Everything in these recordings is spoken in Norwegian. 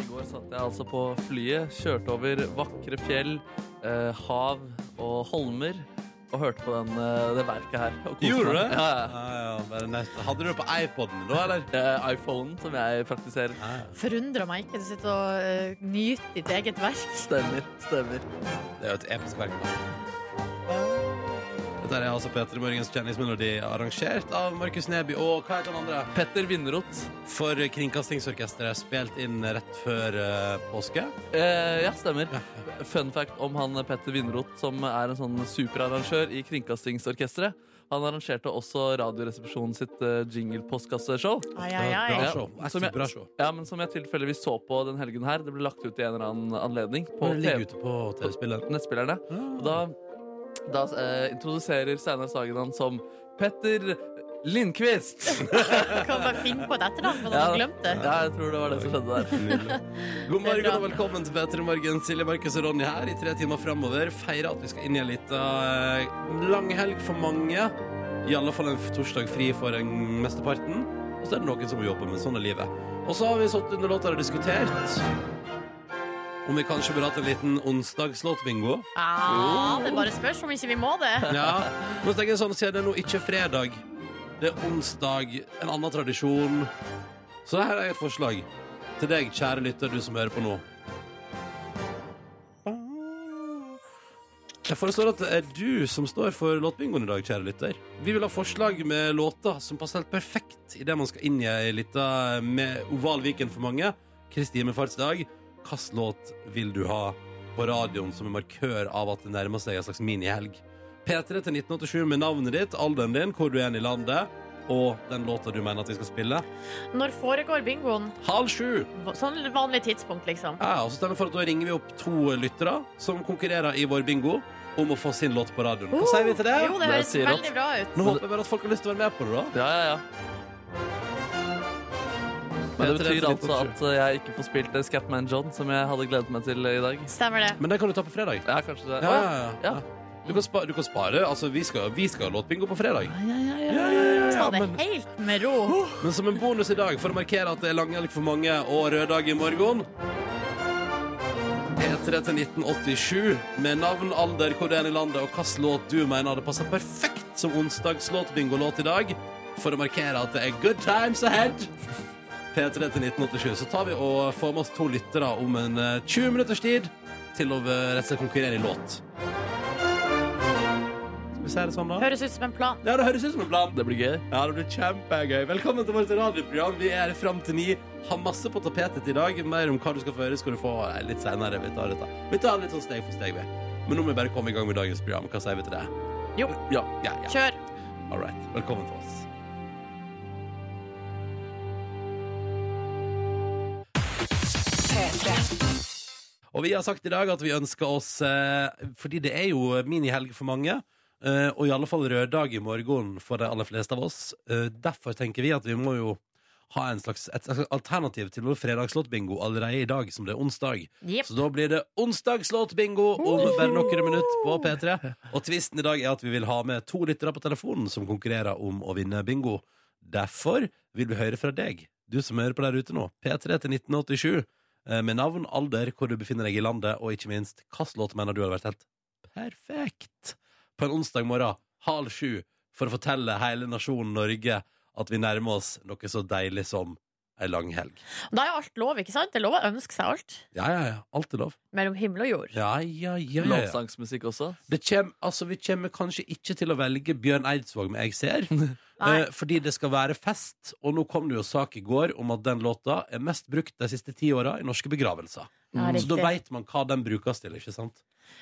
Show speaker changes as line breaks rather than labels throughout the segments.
I går satt jeg altså på flyet, kjørte over vakre fjell, eh, hav og holmer og hørte på den, eh, det verket her. og koste
Gjorde du
meg.
det?
Ja, ja.
Ja, ja, bare neste. Hadde du det på iPoden da, eller?
Eh, iPhonen som jeg praktiserer.
Ja, ja.
Forundrer meg ikke. Du sitter og eh, nyter ditt eget verk.
Stemmer. stemmer.
Det er jo et episk verk. da. Dette er altså Peter Morgens kjenningsmelodi, arrangert av Markus Neby og hva heter han andre?
Petter Vinnerot.
For Kringkastingsorkesteret, spilt inn rett før eh, påske.
Eh, ja, stemmer. Fun fact om han Petter Vinnerot, som er en sånn superarrangør i Kringkastingsorkesteret. Han arrangerte også Radioresepsjonen sitt eh, jingle-postkasseshow.
Ai, ai, ai.
Bra show.
som
Ekte
jeg-
bra show.
Ja, men som jeg tilfeldigvis så på den helgen her. Det ble lagt ut i en eller annen anledning på
Bare
TV
ligger ute på TV-spilleren.
nettspillerne. Og da, da eh, introduserer Steinar Sagen han som Petter Lindqvist.
Kan bare finne på et etternavn, men
Ja.
har glemt det.
Ja, jeg tror det var det som skjedde der.
God
Det er
morgen
bra.
og velkommen til Peter Morgen. Silje, Markus og Ronny her i tre timer framover. Feirer at vi skal inn i en liten lang helg for mange. I alle fall en f- torsdag fri for en mesteparten. Og så er det noen som må jobbe, men sånn er livet. Og så har vi satt under låter og diskutert om vi kanskje burde hatt en liten onsdagslåtbingo.
Ah, det bare spørs om ikke vi må det.
Ja. Men så tenker jeg sånn, siden det er nå ikke fredag, det er onsdag, en annen tradisjon. Så her er et forslag til deg, kjære lytter, du som hører på nå. Jeg forestår at det er du som står for låtbingoen i dag, kjære lytter. Vi vil ha forslag med låter som passer helt perfekt i det man skal inn i ei lita med oval Viken for mange. Kristi himmelfartsdag. Hvilken låt vil du ha på radioen som en markør av at det nærmer seg en slags minihelg? P3 til 1987 med navnet ditt, alderen din, hvor du er i landet, og den låta du mener at vi skal spille.
Når foregår bingoen?
Halv sju!
Sånn vanlig tidspunkt, liksom.
Ja, og så stemmer for at Da ringer vi opp to lyttere som konkurrerer i vår bingo om å få sin låt på radioen. Hva sier vi til det?
Uh, Jo, det
Det
høres
sier alt.
veldig bra ut.
Nå håper jeg bare at folk har lyst til å være med på det, da.
Ja, ja, ja. Men det betyr altså at jeg ikke får spilt eh, Scatman John, som jeg hadde gledet meg til i dag.
Stemmer det.
Men den kan du ta på fredag.
Ja, kanskje det.
Ja, ja, ja.
Ja.
Du, kan spare, du kan spare. Altså, vi skal, vi skal ha låtbingo på fredag.
Ta det helt med ro.
Men som en bonus i dag, for å markere at det er langhelg for mange og rød dag i morgen P3 til 1987 med navn, alder, hvor det er i landet og hvilken låt du mener hadde passa perfekt som onsdagslåtbingolåt i dag, for å markere at det er good times ahead. P3 til 1987. Så tar vi og får med oss to lyttere om en eh, 20 minutters tid til å eh, rett og slett konkurrere i låt. Skal vi si det sånn, da?
Høres ut som en plan.
Ja, det høres ut som en plan.
Det blir gøy.
Ja, det blir kjempegøy. Velkommen til vårt radioprogram. Vi er fram til ni. Har masse på tapetet i dag. Mer om hva du skal få høre, skal du få eh, litt senere. Vi tar dette. Vi tar det litt sånn steg for steg, vi. Men nå må vi bare komme i gang med dagens program. Hva sier vi til det?
Jo.
Ja, ja, ja.
Kjør.
All right. Velkommen til oss. Og vi har sagt i dag at vi ønsker oss eh, Fordi det er jo minihelg for mange. Eh, og i alle fall røddag i morgen for de aller fleste av oss. Eh, derfor tenker vi at vi må jo ha en slags, et slags alternativ til vår fredagslåtbingo allerede i dag, som det er onsdag.
Jepp.
Så da blir det onsdagslåtbingo om bare noen minutter på P3. Og tvisten i dag er at vi vil ha med to lyttere på telefonen som konkurrerer om å vinne bingo. Derfor vil vi høre fra deg, du som hører på der ute nå. P3 til 1987. eh, Med navn, alder, hvor du befinner deg i landet, og ikke minst hvilken låt mener du hadde vært helt perfekt på en onsdag morgen halv sju for å fortelle hele nasjonen Norge at vi nærmer oss noe så deilig som ei lang helg.
Da er jo alt lov, ikke sant? Det er lov å ønske seg alt.
Ja, ja, ja. Alt er lov.
Mellom himmel og jord.
Ja, ja, ja, ja, ja.
Lovsangsmusikk også.
Det kjem, altså, vi kommer kanskje ikke til å velge Bjørn Eidsvåg med Jeg ser,
Nei.
eh, fordi det skal være fest. Og nå kom det jo sak i går om at den låta er mest brukt de siste ti åra i norske begravelser.
Ja,
Mm, Så da
riktig.
veit man hva den brukes til, ikke sant?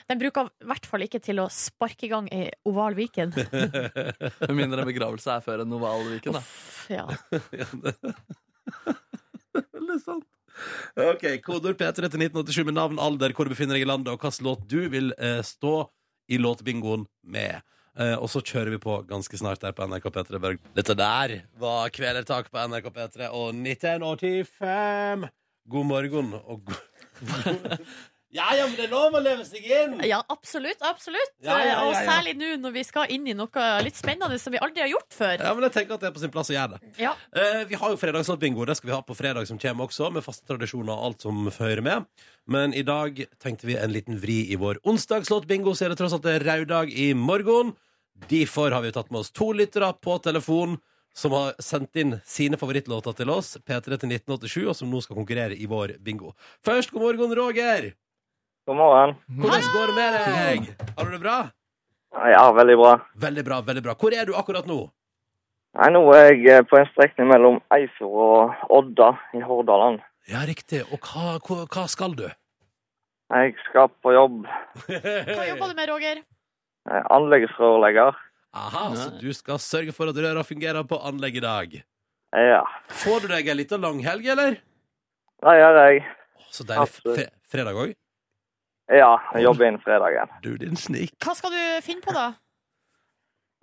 Den bruker i hvert fall ikke til å sparke i gang i Oval Viken.
Med mindre en begravelse er før en Novalviken, da.
Uff, ja.
Veldig sant. Ok, kodord P3 til 1987 med navn, alder, hvor du befinner deg i landet, og hvilken låt du vil eh, stå i låtbingoen med. Eh, og så kjører vi på ganske snart her på NRK P3 Børg. Dette der var Kvelertak på NRK P3 og 1985. God morgen og god Ja, ja, men det er lov å leve seg inn!
Ja, absolutt. absolutt
Ja, ja, ja, ja.
Og særlig nå når vi skal inn i noe litt spennende som vi aldri har gjort før.
Ja, men jeg tenker at det er på sin plass å gjøre det.
Ja,
Eh, vi har jo fredagslåtbingo. Det skal vi ha på fredag som kommer også, med faste tradisjoner og alt som hører med. Men i dag tenkte vi en liten vri i vår onsdagslåtbingo, så er det tross alt det er raudag i morgen. Derfor har vi tatt med oss to lyttere på telefon som har sendt inn sine favorittlåter til oss, P3 til 1987, og som nå skal konkurrere i vår bingo. Først, god morgen, Roger!
God morgen.
Hvordan går det med deg? Har du det bra?
Ja, veldig bra.
Veldig bra, veldig bra. Hvor er du akkurat nå?
Nei, nå er jeg eh, på en strekning mellom Eifjord og Odda i Hordaland.
Ja, riktig. Og hva, hva, hva skal du?
Jeg skal på jobb.
Hva jobber du med, Roger?
Eh, Anleggsrørlegger.
Aha, så du skal sørge for at røra fungerer på anlegg i dag.
Eh, Ja,
Får du deg en liten langhelg, eller?
det gjør jeg.
Å, Så deilig.
Absolutt.
Fre fredag òg?
Ja, jeg jobber inn fredagen.
Du, din snik.
Hva skal du finne på, da?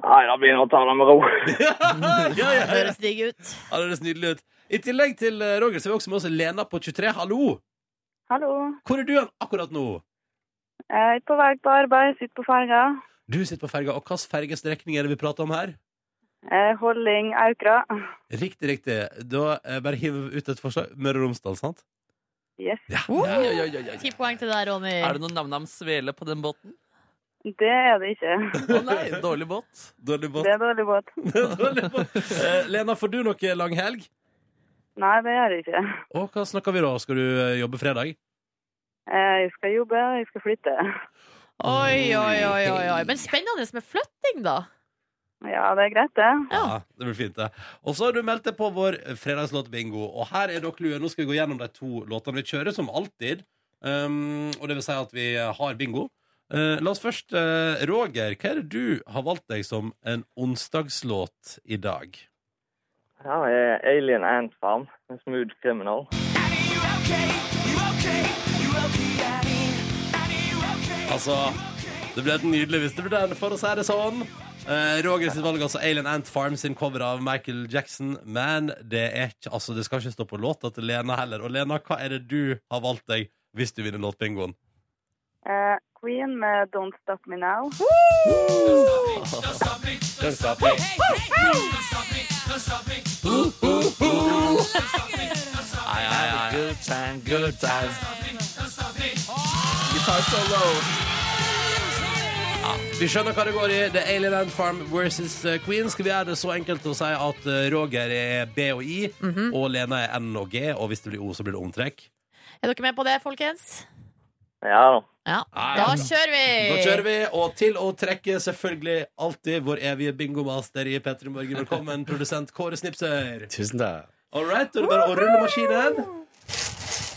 Nei, da begynner jeg å ta det med ro.
ja, ja,
Det
ja.
høres digg ut.
Ja, det høres nydelig ut. I tillegg til eh, Roger så er vi også med oss Lena på 23. Hallo!
Hallo.
Hvor er du hen akkurat nå?
Jeg er på vei på arbeid, sitter på ferga.
Du sitter på ferga, og hvilken fergestrekning er det vi prater om her?
Eh, Holding Aukra.
Riktig, riktig. Da eh, bare hiver vi ut et forslag. Møre og Romsdal, sant?
Yes.
Ja.
Ja, ja, ja, ja, ja.
Ti poeng til deg, Ronny.
Er det noen nam-nam svele på den båten?
Det er det ikke.
Å nei, dårlig båt.
Dårlig båt.
Det er dårlig båt.
Dårlig båt. Eh, Lena, får du noe langhelg?
Nei, det er det ikke.
Og hva snakker vi da? Skal du eh, jobbe fredag?
Eh, Jeg skal jobbe, og jeg skal flytte.
Oi, oi, oi, oi, oi. Men spennende med flytting, da.
Ja, det er greit, det.
Ja.
Ja, det blir fint det Og så har du meldt deg på vår fredagslåtbingo Og her er dere lue, nå skal vi gå gjennom de to låtene vi kjører som alltid um, Og det vil si at vi har bingo Eh, La oss først, eh, Roger, hva er det du har valgt deg som en onsdagslåt i dag?
Ja, jeg er Alien Ant Farm, en smooth criminal.
Altså, det ble helt nydelig hvis det ble den for å si det sånn Eh, Roger sitt valg, altså Alien Ant Farm sin cover av Michael Jackson Men det er ikke, altså det skal ikke stå på låta til Lena heller Og Lena, hva er det du har valgt deg hvis du vinner låtbingoen?
Eh, Queen med Don't Stop Me Now.
Good time, good time. Guitar solo.
Vi skjønner hva det går i. Det er Alien Ant Farm versus eh, Queen. Skal vi gjøre det så enkelt å si at eh, Roger er B og I, og Lena er N og G, og hvis det blir O, så blir det omtrekk?
Er dere med på det, folkens?
Ja da.
Ja.
Ja, ja,
Da
bra.
kjører vi.
Da kjører vi, og til å trekke selvfølgelig alltid vår evige bingomaster i P3 Morgen. Velkommen, produsent Kåre Snipser.
Tusen takk.
All right, da er det bare å rulle maskinen.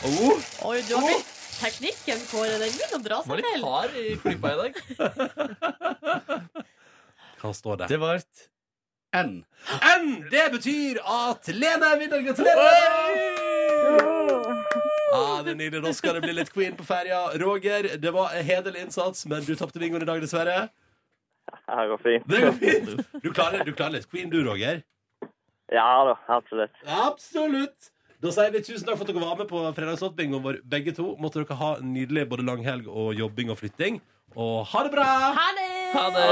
Oh,
Oi, du har blitt teknikken, Kåre. Den begynner å dra
Var
seg
litt
til.
hard i klypa i dag.
hva står det?
Det var et N.
N! Det betyr at Lena er vinner. Gratulerer! Ja, Ah, det er nydelig. Nå skal det bli litt Queen på ferja. Roger, det var en hederlig innsats, men du tapte bingoen i dag, dessverre.
Det går fint.
Det går fint. Du klarer, du klarer litt Queen, du, Roger.
Ja da, absolutt.
Absolutt. Da sier vi tusen takk for at dere var med på fredagslåtbingoen vår, begge to. Måtte dere ha en nydelig både langhelg og jobbing og flytting. Og ha det bra!
Ha det!
Ha det.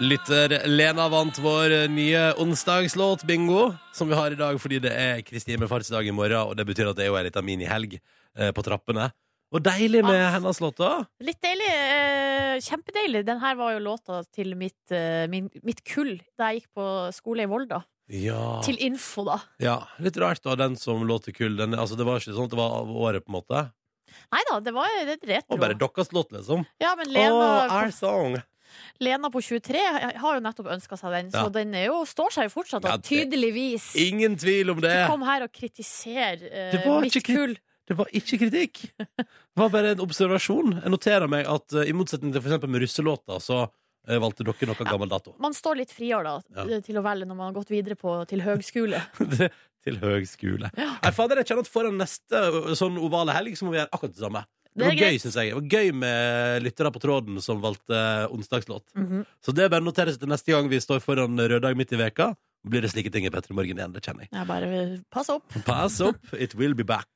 Lytter Lena vant vår nye onsdagslåt, Bingo, som vi har i dag fordi det er Kristi himmelfartsdag i morgen, og det betyr at det er jo ei lita minihelg eh, på trappene. Og deilig med
Ah.
hennes låter.
Litt deilig. Eh, kjempedeilig. Den her var jo låta til mitt, eh, min, mitt kull da jeg gikk på skole i Volda.
Ja.
Til info, da.
ja. Litt rart, da, den som låter kull. Den, altså, det var ikke sånn at det var av året, på en måte.
Nei da, det var det er retro.
Og bare deres låt, liksom.
Ja, men
Å,
Lena,
our song.
Lena på 23 har jo nettopp ønska seg den, så
Ja.
den er jo, står seg jo fortsatt, da,
Ja, det-
tydeligvis.
Ingen tvil om
Du
det.
kom her og kritiserer eh,
Det var
mitt
ikke kri-
kull.
Det var ikke kritikk. Det var bare en observasjon. Jeg noterer meg at eh, i motsetning til for eksempel med russelåter, så eh, valgte dere noe gammel dato.
Man står litt friere da, eh,
Ja.
til å velge når man har gått videre på, til høgskole.
Det- til høgskole. Nei, fader, jeg kjenner at foran neste ø, sånn ovale helg så må vi gjøre akkurat det samme. Det
Det
var
er
gøy,
greit.
synes jeg. Det var gøy med lyttere på tråden som valgte ø, onsdagslåt.
Mhm.
Så det er bare å notere seg til neste gang vi står foran røddag midt i veka. blir det slike ting i Petter i morgen igjen. Det kjenner jeg.
Jeg bare vil passe opp.
Pass up, it will be back.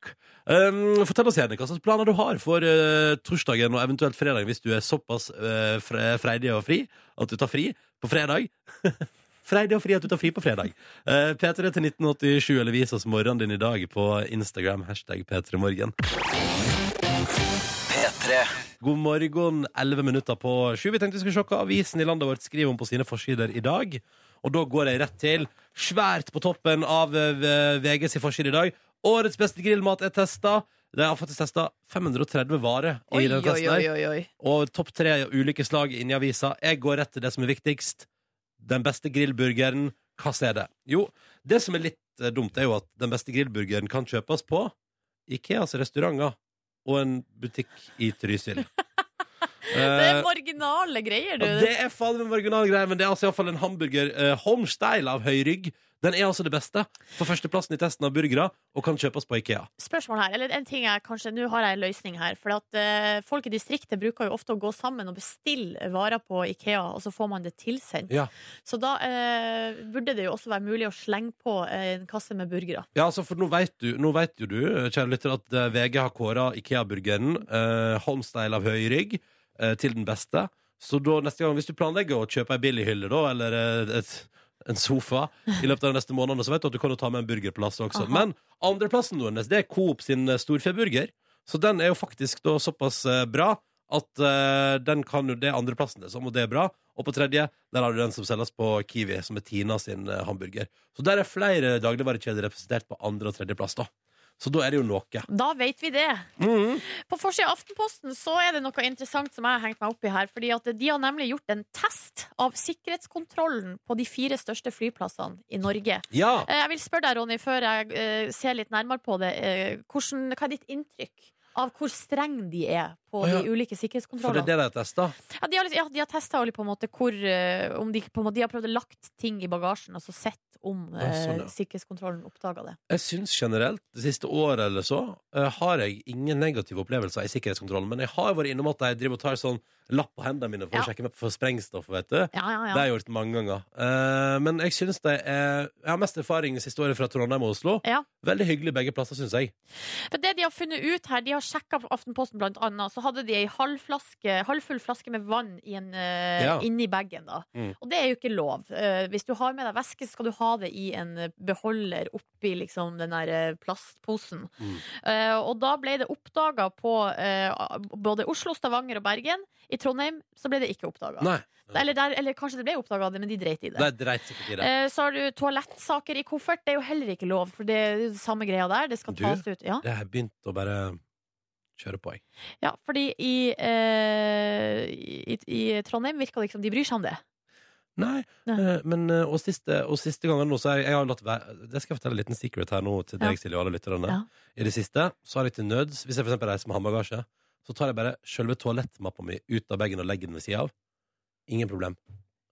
Um, fortell oss igjen hva slags planer du har for eh, torsdagen og eventuelt fredag, hvis du er såpass uh, freidig og fri at du tar fri på fredag. freidig og fri at du tar fri på fredag. Eh, P3 til 1987 eller vis oss morgenen din i dag på Instagram. Hashtag P3morgen. God morgen, 11 minutter på 7. Vi tenkte vi skulle se hva avisen i landet vårt skriver om på sine forsider i dag. Og da går jeg rett til svært på toppen av eh, VGs forside i dag. Årets beste grillmat er testa. De har faktisk testa 530 varer
Oi,
i den
oi,
testen.
oi,
her.
oi, oi.
Og topp tre ulike slag inni avisa. Jeg går rett til det som er viktigst. Den beste grillburgeren. Hva er det? Jo, det som er litt eh, dumt, er jo at den beste grillburgeren kan kjøpes på Ikeas restauranter og en butikk i Trysil.
Det
Eh,
er marginale greier, du.
ja, det er faen meg marginal greie, men det er altså iallfall en hamburger eh, Homestyle av høyrygg. Den er altså det beste. På førsteplassen i testen av burgere, og kan kjøpes på Ikea.
spørsmål her, eller en ting jeg kanskje, nå har jeg en løsning her, for at eh, folk i distriktet bruker jo ofte å gå sammen og bestille varer på IKEA, og så får man det tilsendt.
Ja.
Så da eh, burde det jo også være mulig å slenge på eh, en kasse med burgere.
Ja, altså, for nå vet, du, nå vet jo du, kjære lytter, at eh, VG har kåra Ikea-burgeren, eh, Homestyle av høyrygg, eh, til den beste. Så da neste gang, hvis du planlegger å kjøpe ei billighylle, da, eller eh, et, en sofa, i løpet av de neste månedene, så vet du at du kan jo ta med en burger på lasset også.
Aha.
Men andreplassen deres, det er Coop sin eh, storfeburger. Så den er jo faktisk da såpass eh, bra at eh, den kan jo, det er andreplassen, liksom, og det er bra. Og på tredje der har du den som selges på Kiwi, som er Tina sin eh, hamburger. Så der er flere dagligvarekjeder representert på andre- og tredjeplass. da. Så da er det jo noe.
Da vet vi det.
Mhm.
På forsida av Aftenposten så er det noe interessant som jeg har hengt meg opp i her. fordi at De har nemlig gjort en test av sikkerhetskontrollen på de fire største flyplassene i Norge.
Ja!
Eh, Jeg vil spørre deg, Ronny, før jeg eh, ser litt nærmere på det. eh, hvordan, hva er ditt inntrykk av hvor streng de er på
Å, ja.
de ulike
For det
sikkerhetskontrollene?
er det de har testa.
Ja, de har, liksom- ja, de har testa på en måte hvor eh, om de, på en måte, de har prøvd å lagt ting i bagasjen, og så sett om
Ja, sånn,
eh,
ja.
sikkerhetskontrollen oppdaga det.
Jeg syns generelt, det siste året eller så, eh, har jeg ingen negative opplevelser i sikkerhetskontrollen. Men jeg har vært innom at jeg driver og tar sånn lapp på hendene mine for
Ja.
å sjekke meg for sprengstoff, vet du.
Ja, ja,
Det
ja.
har jeg gjort mange ganger. Eh, men jeg synes det er Jeg har mest erfaring siste året fra Trondheim og Oslo.
Ja.
Veldig hyggelig begge plasser, syns jeg.
For det de har funnet ut her, de har sjekka på Aftenposten blant annet, så hadde de ei halvflaske, halvfull flaske med vann i en, eh,
Ja.
inni bagen. da.
Mm.
Og det er jo ikke lov. Eh, hvis du har med deg væske, så skal du ha det i en eh, beholder oppi liksom, den der eh, plastposen.
Mm.
Eh, og da ble det oppdaga på eh, både Oslo, Stavanger og Bergen. I Trondheim så ble det ikke oppdaga.
Nei.
Eller, der- eller kanskje det ble oppdaga, men de dreit i det.
Det er dreit sikkert i det.
Eh, Så har du toalettsaker i koffert. Det er jo heller ikke lov, for det er jo samme greia der. Det skal
Du?
tas ut. Ja.
Det har jeg begynt å bare kjøre på, jeg.
Ja, fordi i, eh, i, i Trondheim virker det ikke som de bryr seg om det.
Nei,
Nei.
eh, men eh, og siste, og siste gangen nå, så har jeg, jeg har latt være Det skal jeg fortelle en liten secret her nå til deg,
Ja.
Silje, og alle lytterne.
Ja.
I det siste så har jeg til nøds, hvis jeg for eksempel reiser med håndbagasje, så tar jeg bare selve toalettmappa mi ut av bagen og legger den ved sida av. Ingen problem.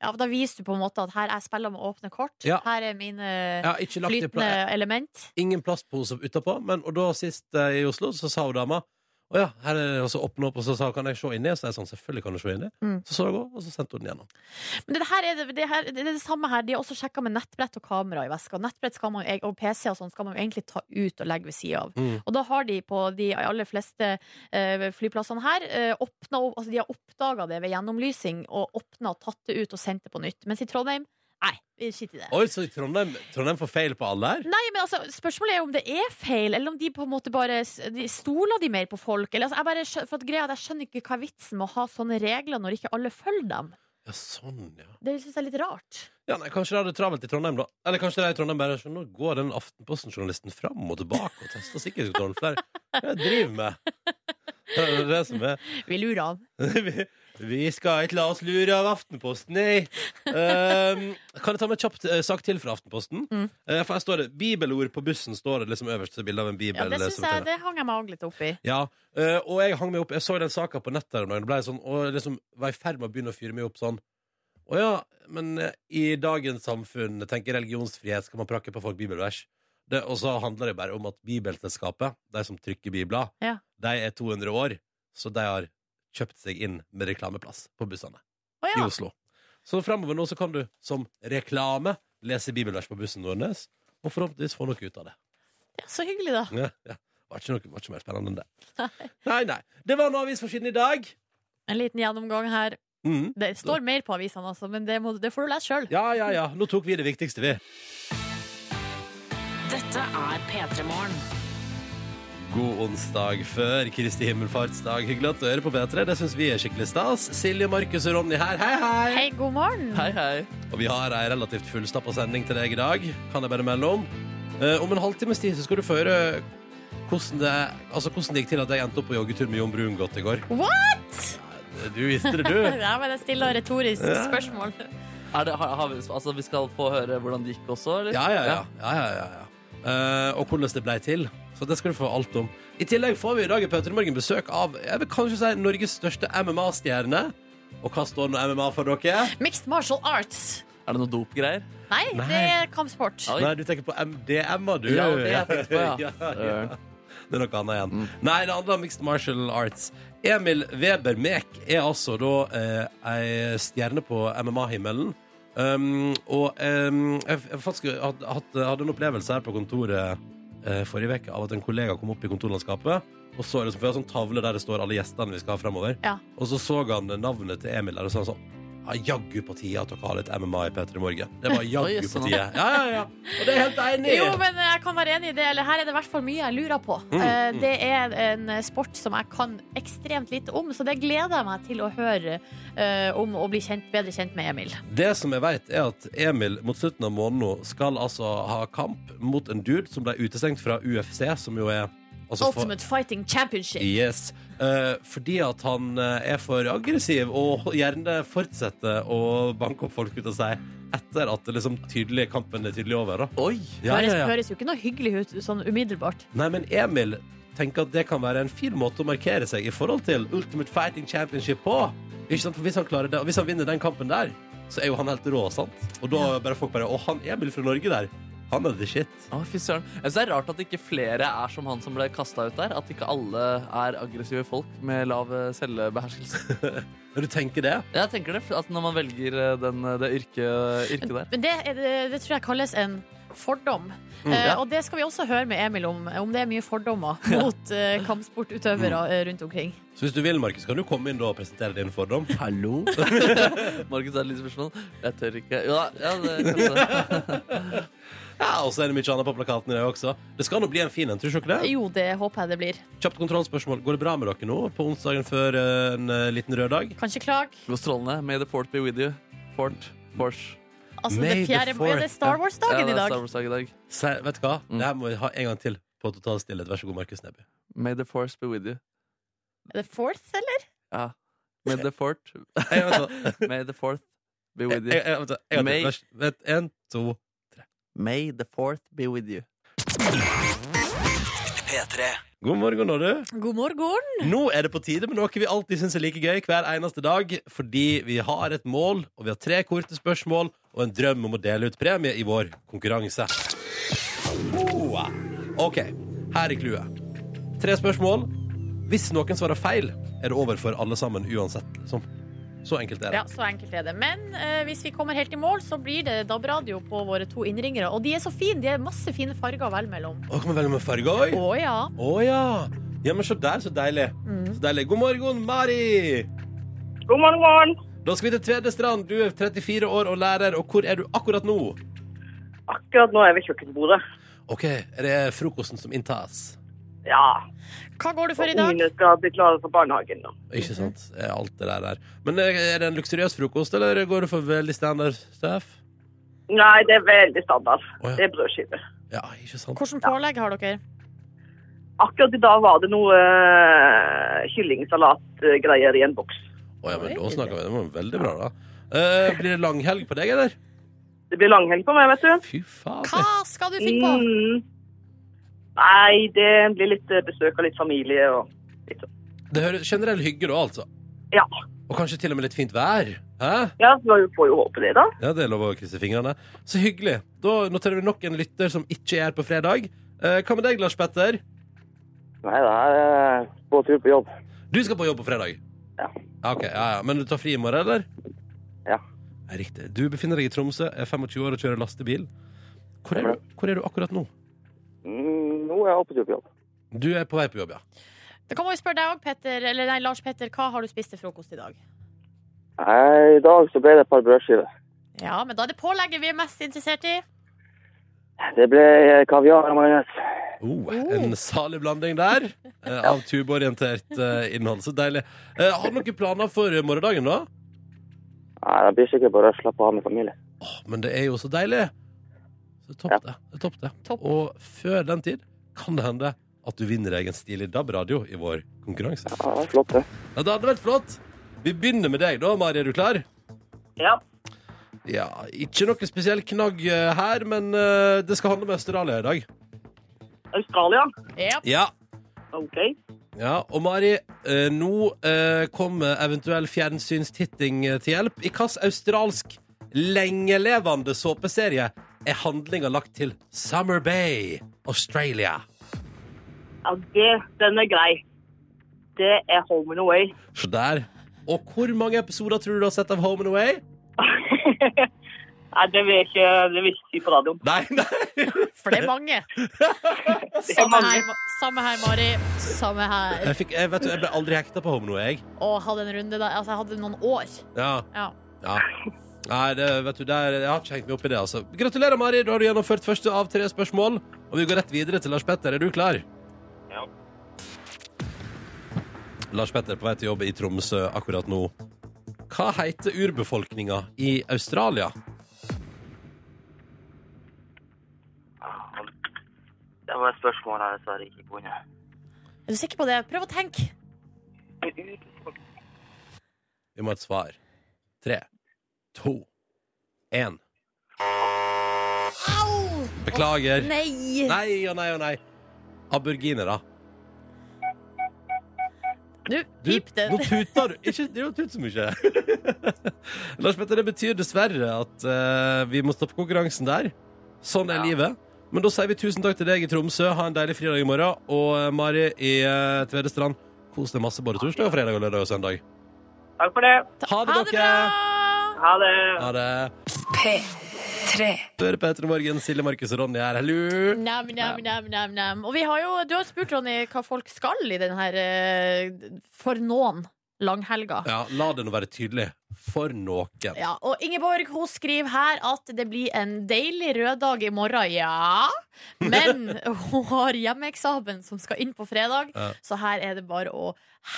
Ja, for Da viser du på en måte at her jeg spiller med åpne kort.
Ja.
Her er mine
Jeg har ikke lagt det i
flytende
pla
element.
ingen plastpose utapå. Men, og da sist eh, i Oslo så sa hun dama å ja, her er det også åpne opp, og så sa hun kan jeg se inni? Og så er jeg sånn, selvfølgelig kan du se inni.
Mm.
Så så jeg også, og så sendte hun den gjennom.
Men det, her er det, det, her, det er det samme her. De har også sjekka med nettbrett og kamera i veska. Nettbrett skal man, jo- og PC og sånn skal man jo egentlig ta ut og legge ved sida av.
Mm.
Og da har de på de aller fleste eh, flyplassene her eh, åpna, opp- altså De har oppdaga det ved gjennomlysing og åpna og tatt det ut og sendt det på nytt. Mens i Trondheim, nei, vi skiter i det.
Oi, så Trondheim, Trondheim får feil på alle her?
Nei, men altså, Spørsmålet er om det er feil, eller om de på en måte bare s- de, Stoler de mer på folk? Eller, altså, jeg, bare, skjø- for at greia, er at jeg skjønner ikke hva er vitsen med å ha sånne regler når ikke alle følger dem.
Ja, sånn, ja.
Det syns jeg er litt rart.
ja nei, kanskje de hadde travelt i Trondheim, da. Eller kanskje de i Trondheim bare sånn, Nå går den Aftenposten-journalisten fram og tilbake og tester sikkerhetskontrollen. For det er det jeg driver med. Det er det som er
Vi lurer han.
vi, vi skal ikke la oss lure av Aftenposten, nei. Ehm, kan jeg ta med en kjapp eh, sak til fra Aftenposten?
Mm.
Eh, for her står det Bibelord på bussen står det liksom øverst til bildet av en bibel.
Ja, det
eh,
synes
som tegner.
jeg, det hang jeg meg også litt opp i.
Ja, eh, og jeg hang meg opp Jeg så den saka på nettet her om dagen, og ble sånn, og liksom var i ferd med å begynne å fyre meg opp sånn. Å ja, men eh, i dagens samfunn, jeg tenker religionsfrihet, skal man prakke på folk bibelvers? Det, og så handler det bare om at Bibelselskapet, de som trykker bibler,
Ja.
de er 200 år, så de har kjøpt seg inn med reklameplass på bussene
Å
i
ja.
Oslo. Så framover nå så kan du som reklame lese bibelvers på bussen Nordnes, og forhåpentligvis få noe ut av det.
Ja, så hyggelig, da.
Ja, ja. Var ikke, noe, var ikke mer spennende enn det. Nei, nei. Det var en avis for siden i dag.
En liten gjennomgang her.
Mhm.
Det står mer på avisene, altså, men det, må, det får du lese sjøl.
Ja, ja, ja. Nå tok vi det viktigste, vi.
Dette er P3 Morgen.
God onsdag før Kristi himmelfartsdag. Hyggelig at du hører på P3. Det syns vi er skikkelig stas. Silje, Markus og Ronny her. Hei, hei.
Hei, god morgen.
Hei, hei.
Og vi har ei relativt fullstappa sending til deg i dag, kan jeg bare melde om. Eh, om en halvtimes tid så skal du få høre hvordan det, altså hvordan det gikk til at jeg endte opp på joggetur med Jon Brungot i går.
What?!
Du visste det, du.
Ja, men jeg stiller retorisk spørsmål.
Er det, har, har vi, altså, vi skal få høre hvordan det gikk også, eller?
Ja, ja, ja. ja, ja, ja, ja. Eh, og hvordan det blei til. Så det skal du få alt om. I tillegg får vi i dag i Petter i morgen besøk av jeg vil kanskje si Norges største MMA-stjerne. Og hva står nå MMA for dere?
Mixed martial arts.
Er det noe dopgreier?
Nei,
Nei.
det er kampsport.
Ja. Oi.
Nei, du tenker på MDMA, du.
Ja, det har jeg tenkt på, ja. Eh,
ja, ja. Det er noe annet igjen. Nei, det handler om mixed martial arts. Emil Weber Mek er altså da eh, ei stjerne på MMA-himmelen. Um, og em, jeg, jeg faktisk hadde, hadde, hadde en opplevelse her på kontoret eh, forrige uke av at en kollega kom opp i kontorlandskapet. Og så er det, for vi har sånn tavle der det står alle gjestene vi skal ha fremover.
Ja.
Og så så han navnet til Emil der og sa sånn ja, Jaggu på tide at dere har litt MMA i P3 Morgen. Det var
Oi,
jaggu på
sånn.
tide. Ja, ja, ja. Og det er jeg helt enig i.
Jo, men jeg kan være enig i det. Eller her er det i hvert fall mye jeg lurer på.
Mm,
Eh,
mm.
Det er en sport som jeg kan ekstremt lite om, så det gleder jeg meg til å høre eh, om og bli kjent, bedre kjent med Emil.
Det som jeg vet er at Emil mot slutten av måneden nå skal altså ha kamp mot en dude som ble utestengt fra UFC, som jo er altså for-
Ultimate Fighting Championship.
Yes. Eh, fordi at han eh, er for aggressiv og gjerne fortsetter å banke opp folk ut av seg etter at det liksom tydelig, kampen er tydelig over. da
Oi!
Ja,
høres,
ja, ja.
høres jo ikke noe hyggelig ut sånn umiddelbart.
Nei, men Emil tenker at det kan være en fin måte å markere seg i forhold til Ultimate Fighting Championship på. Ikke sant? For hvis han, klarer det, og hvis han vinner den kampen der, så er jo han helt rå, sant? Og da bare folk bare Å, han Emil fra Norge der, han er the shit.
Å, fy søren. Jeg synes det er rart at ikke flere er som han som ble kasta ut der. At ikke alle er aggressive folk med lav eh, selvbeherskelse.
Når du tenker det
Jeg tenker det, at når man velger eh, den, eh, det yrket, yrket der.
Men det, er- det, det tror jeg kalles en fordom.
Mm,
Eh,
ja.
Og det skal vi også høre med Emil om, om det er mye fordommer mot eh, kampsportutøvere
Mm.
eh, rundt omkring.
Så hvis du vil, Markus, kan du komme inn da og presentere din fordom.
Hallo? Markus har et lite spørsmål. Jeg tør ikke. Jo da, ja, det altså. kanskje.
Ja, Og så er det mye annet på plakaten i dag også. Det skal nå bli en fin en, tror du ikke det?
Jo, det håper jeg det blir.
Kjapt kontrollspørsmål. Går det bra med dere nå på onsdagen før eh, en eh, liten rød dag?
Kan ikke klage.
Gå strålende. May the fort be with you. Fort. Force.
Altså,
May
det
the
fjerde,
fourth.
er det Star
Ja,
Wars-dagen
det er
i dag?
Star Wars-dag i dag.
Se, vet du hva?
Mm.
Det her må vi ha en gang til på total stillhet. Vær så god, Markus Neby.
May the force be with you.
Er det fourth, eller?
Ja. May the fort
Jeg, vet hva.
May the fourth be with
Jeg-
you.
jeg- vent da, jeg-
Meg.
vent, vent, En, to
May the fourth be with you.
God morgen, nå, du.
God morgen.
Nå er det på tide med noe vi alltid syns er like gøy hver eneste dag, fordi vi har et mål, og vi har tre korte spørsmål og en drøm om å dele ut premie i vår konkurranse. Oh. OK, her er clouet. Tre spørsmål. Hvis noen svarer feil, er det over for alle sammen uansett. Liksom. Så enkelt er det.
Ja, så enkelt er det. Men eh, hvis vi kommer helt i mål, så blir det DAB-radio på våre to innringere. Og de er så fine. De er masse fine farger å velge mellom.
Å, kan vi velge med farge òg?
Å ja.
Å ja. ja! Men se der, så deilig. Så deilig. God morgen, Mari!
God morgen, morgen.
Da skal vi til Tvedestrand. Du er 34 år og lærer, og hvor er du akkurat nå?
Akkurat nå er vi kjøkkenbordet.
OK, er det frokosten som inntas?
Ja,
Hva går du for i
og
dag?
ungene skal bli klare for barnehagen nå.
Ikke sant? Er alt det der der. Men eh, er det en luksuriøs frokost, eller går du for veldig standard stuff?
Nei, det er veldig standard.
Å, ja.
Det er brødskive.
Ja, ikke sant?
Hvilket pålegg har dere?
Akkurat i dag var det noe eh, kyllingsalatgreier i en boks.
Å ja, men da snakker vi. Det var veldig bra, da. Eh, blir det langhelg på deg, eller?
Det blir langhelg på meg, vet du.
Fy
Hva
faen.
skal du finne på?
Mm. Nei, det blir litt eh, besøk av litt familie og
Det hører generell hygge, da, altså.
Ja.
Og kanskje til og med litt fint vær. Hæ?
Ja, så vi får jo håpe det, da.
Ja, det er lov å krysse fingrene. Så hyggelig. Da noterer vi nok en lytter som ikke er her på fredag. Eh, hva med deg, Lars Petter?
Nei, det er eh, på tur på jobb.
Du skal på jobb på fredag.
Ja.
Ok, ja, ja. Men du tar fri i morgen, eller?
Ja.
Riktig. Du befinner deg i Tromsø, er 25 år og kjører lastebil. Hvor er du, hvor er du akkurat nå?
Mm, Nå er jeg oppe til jobb.
Du er på vei på jobb, ja.
Da kan man jo spørre deg òg, Petter. Eller nei, Lars Petter, hva har du spist til frokost i dag?
Nei, I dag så ble det et par brødskiver.
Ja, men da er det pålegget vi er mest interessert i.
Det ble eh, kaviar og majones.
Oh, en salig blanding der eh, av tubeorientert eh, innhold. Så deilig. Eh, har du noen planer for eh, morgendagen, da?
Nei, det blir sikkert bare å slappe av med familien.
Åh, men det er jo så deilig. Så det er topp,
Ja.
det. det, er topp, det.
Topp.
Og før den tid kan det hende at du vinner deg en stilig DAB-radio i vår konkurranse.
Ja, det er flott, det.
Ja, det hadde vært flott. Vi begynner med deg, da, Mari. Er du klar?
Ja.
Ja, Ikke noe spesiell knagg eh, her, men eh, det skal handle om Australia i dag.
Australia?
Ja.
Ja.
OK.
ja. Og Mari, eh, nå eh, kommer eventuell fjernsynstitting eh, til hjelp. I hvilken australsk lengelevende såpeserie er handlinga lagt til Summer Bay, Australia?
Ja, det, den er grei. Det er Home and Away.
Så der. Og hvor mange episoder tror du du har sett av Home and Away?
Nei, det vil jeg ikke, det vil jeg ikke si på radioen.
Nei, nei.
For det er mange.
Det er
Samme
mange.
her, Ma- samme her Mari. Samme her.
Jeg, fikk, jeg, vet, du, jeg ble aldri hekta på Home and Away. jeg.
Å, hadde en runde da. Altså, jeg hadde noen år.
Ja.
Ja.
ja. Nei, det, vet du, der, jeg har ikke hengt meg opp i det, altså. Gratulerer, Mari. Da har du gjennomført første av tre spørsmål. Og vi går rett videre til Lars Petter. Er du klar?
Ja.
Lars Petter er på vei til jobb i Tromsø akkurat nå. Hva heter urbefolkninga i Australia?
Det var et spørsmål jeg dessverre ikke kunne.
Er du sikker på det? Prøv å tenke.
Vi må ha et svar. Tre, to, én.
Au!
Beklager.
Nei!
Nei og nei og nei. Aborginere.
Du,
Du,
pip det.
nå tuter du. Ikke det er jo tut så mye. Lars Petter, det betyr dessverre at eh, vi må stoppe konkurransen der. Sånn er
Ja.
livet. Men da sier vi tusen takk til deg i Tromsø. Ha en deilig fridag i morgen. Og eh, Mari i uh, Tvedestrand, kos deg masse både torsdag, og fredag, og lørdag og søndag.
Takk for det.
Ha det,
Ha det
dere!
bra!
Ha det.
Ha det.
P3.
Du hører Petter i morgen. Silje, Markus og Ronny her. Hallo!
Nam, nam, nam, nam, nam. Og vi har jo, du har spurt, Ronny, hva folk skal i den her eh, For noen langhelga.
Ja, la det nå være tydelig. For noen.
Ja, og Ingeborg hun skriver her at det blir en deilig røddag i morgen, ja. Men hun har hjemmeeksamen som skal inn på fredag,
Ja.
så her er det bare å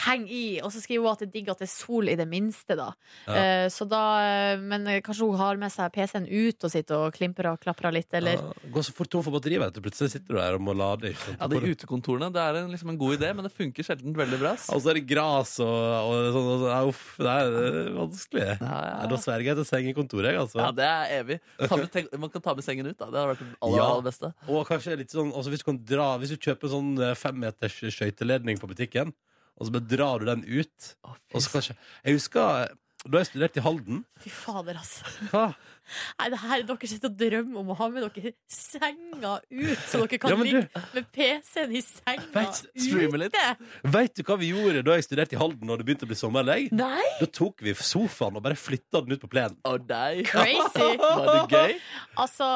henge i. Og så skriver hun at det er digg at det er sol i det minste, da.
Ja.
Eh, så da eh, men kanskje hun har med seg PC-en ut og sitter og klimper og klaprer litt, eller?
Ja, Ah, gå så fort tom for batteri, vet du. Plutselig sitter du der og må lade. sånn Ikke sant?
Ja, De utekontorene det er en, liksom en god idé, men det funker sjelden veldig bra. ass.
Og så er det gras og, og sånn. Og så, ja, uff, det er det er vanskelig.
Ja,
Nei,
ja.
Da sverger jeg til seng i kontoret, jeg, altså.
ja, det er evig. Ta med, tenk, man kan ta med sengen ut, da. Det hadde vært det aller,
Ja.
aller beste.
Og kanskje litt sånn altså, hvis, du kan dra, hvis du kjøper en sånn eh, femmeters skøyteledning på butikken, og så bare drar du den ut
Å, fy
Og så kanskje Jeg husker eh, da jeg studerte i Halden
Fy fader, altså.
Hva?
Nei, det her er dere sitter og drømmer om å ha med dere senga ut, så dere kan
Ja, men du-
ligge med PC-en i senga
Vet-
streame litt.
ute.
Vet du hva vi gjorde da jeg studerte i Halden og det begynte å bli sommer? eller?
Nei,
Da tok vi sofaen og bare flytta den ut på plenen.
Å, nei.
crazy!
Var det gøy?
Altså,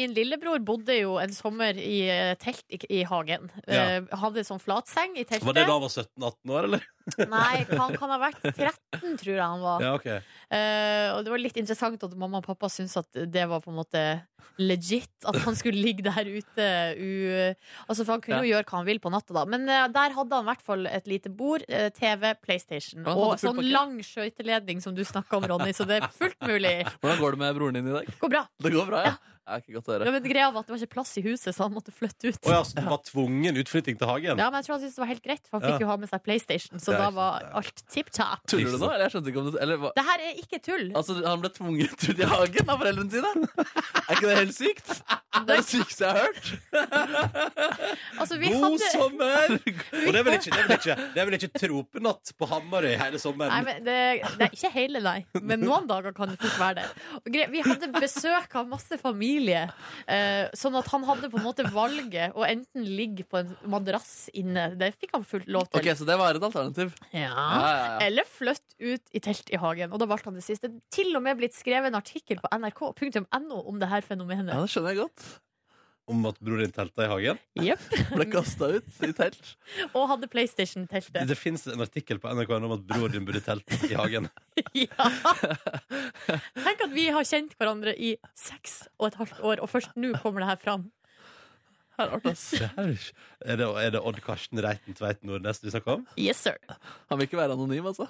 min lillebror bodde jo en sommer i eh, telt i, i hagen.
Ja.
Eh, hadde sånn flatseng i teltet.
Var det da han var 17-18 år, eller?
Nei, han kan ha vært 13, tror jeg han var.
Ja, ok
Eh, og det var litt interessant at mamma og pappa syntes at det var på en måte legit. At han skulle ligge der ute u... Altså, for han kunne jo gjøre hva han vil på natta, da. Men eh, der hadde han i hvert fall et lite bord, eh, TV, PlayStation
Han hadde
og
fullt
sånn
pakke.
lang skøyteledning som du snakka om, Ronny, så det er fullt mulig.
Hvordan går det med broren din i dag?
Går bra.
Det går bra, ja? Det er ikke godt å
Ja,
høre.
men greia var at det var ikke plass i huset, så han måtte flytte ut.
Å ja, så det var tvungen utflytting til hagen?
Ja, men jeg tror han syntes det var helt greit, for han
Ja.
fikk jo ha med seg PlayStation. Så
Det er
da
ikke
var
sant,
alt tipp topp.
Tuller du nå? Eller jeg skjønte ikke om det eller, hva?
Det her er ikke tull.
Altså, han ble tvunget ut i hagen av foreldrene sine? Er ikke det helt sykt? Det er det sykeste jeg har hørt.
Altså, vi
God
hadde
sommer! Og det er vel ikke, det er vel ikke, det er vel ikke tropenatt på Hamarøy hele sommeren?
Nei, men det, det er ikke hele, nei. Men noen dager kan det fort være det. Og gre- Vi hadde besøk av masse familie, eh, sånn at han hadde på en måte valget å enten ligge på en madrass inne, det fikk han fullt lov
Ok,
til,
Så det var et alternativ. Ja,
ja.
ja, ja.
eller flytte ut i telt i hagen. Og da valgte han det siste. Det er til og med blitt skrevet en artikkel på nrk.no om det her
ja
fenomenet.
det skjønner jeg godt.
Om at broren din telta i hagen?
Ble kasta ut i telt.
Og hadde PlayStation-teltet.
Det, det fins en artikkel på NRK om at broren din burde telte i hagen.
Ja. Tenk at vi har kjent hverandre i seks og et halvt år, og først nå kommer det her fram.
Her, Arthas.
Det er ikke- Er det, er det Odd Karsten Reiten Tveit Nordnes du snakker om?
Yes, sir.
Han vil ikke være anonym, altså.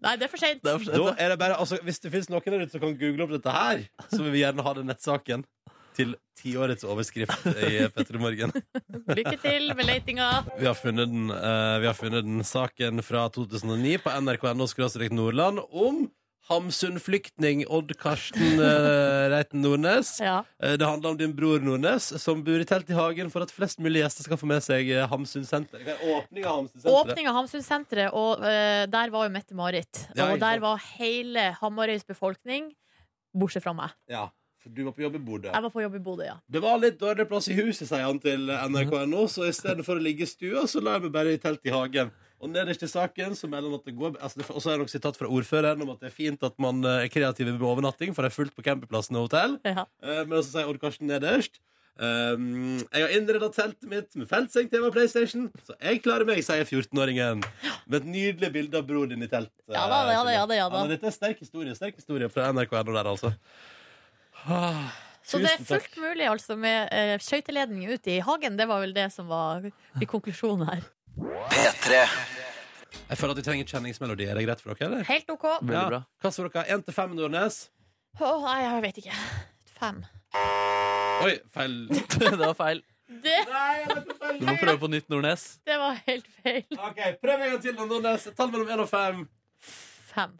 Nei, det er for seint.
Det er for
Da
sent.
er det bare, altså, hvis det fins noen der ute som kan google opp dette her, så vil vi gjerne ha den nettsaken til tiårets overskrift i Petter i morgen.
Lykke til med letinga.
Vi har funnet den, eh, vi har funnet den saken fra 2009 på nrk.no-nordland om Hamsun-flyktning Odd Karsten eh, Reiten Nordnes.
Ja.
Eh, Det handler om din bror Nordnes, som bor i telt i hagen for at flest mulig gjester skal få med seg eh, Hamsun senter. Hva er Åpning av Hamsun senteret.
Åpning av Hamsunsenteret, og eh, der var jo Mette-Marit.
Ja, ikke
og der
sant.
var hele Hamarøys befolkning, bortsett fra meg.
Ja, for du var på jobb i Bodø.
Jeg var på jobb i Bodø, ja.
Det var litt dårlig plass i huset, sier han til nrk.no, så i stedet for å ligge i stua, så la jeg meg bare i telt i hagen. Og nederst i saken så melder han at det går altså det, Og så er det nok sitat fra ordføreren om at det er fint at man eh, er kreativ med overnatting, for det er fullt på campingplassen og hotell.
ja.
Eh, Men så sier Odd Karsten nederst ehm, jeg har innreda teltet mitt med feltseng, TV og PlayStation, så jeg klarer meg, sier 14-åringen. Med et nydelig bilde av broren din i telt. eh,
Ja da, ja da, ja da, ja da.
men Dette er sterk historie, sterk historie fra nrk.no der, altså. Ah,
Så det er
Tusen takk.
fullt mulig altså med uh, skøyteledning ut i hagen. Det var vel det som var i konklusjonen her.
Jeg føler at vi trenger kjenningsmelodi. Er det greit for dere, eller?
Helt OK. Å,
Veldig bra.
Hva svarer dere? 1 til 5, Nordnes?
nei, jeg vet ikke. Fem.
Oi, feil.
Det var feil.
Det,
Du må prøve på nytt, Nordnes.
det var helt feil.
Ok, Prøv en gang til, da, Nordnes. Et Tall mellom 1 og 5.
Fem.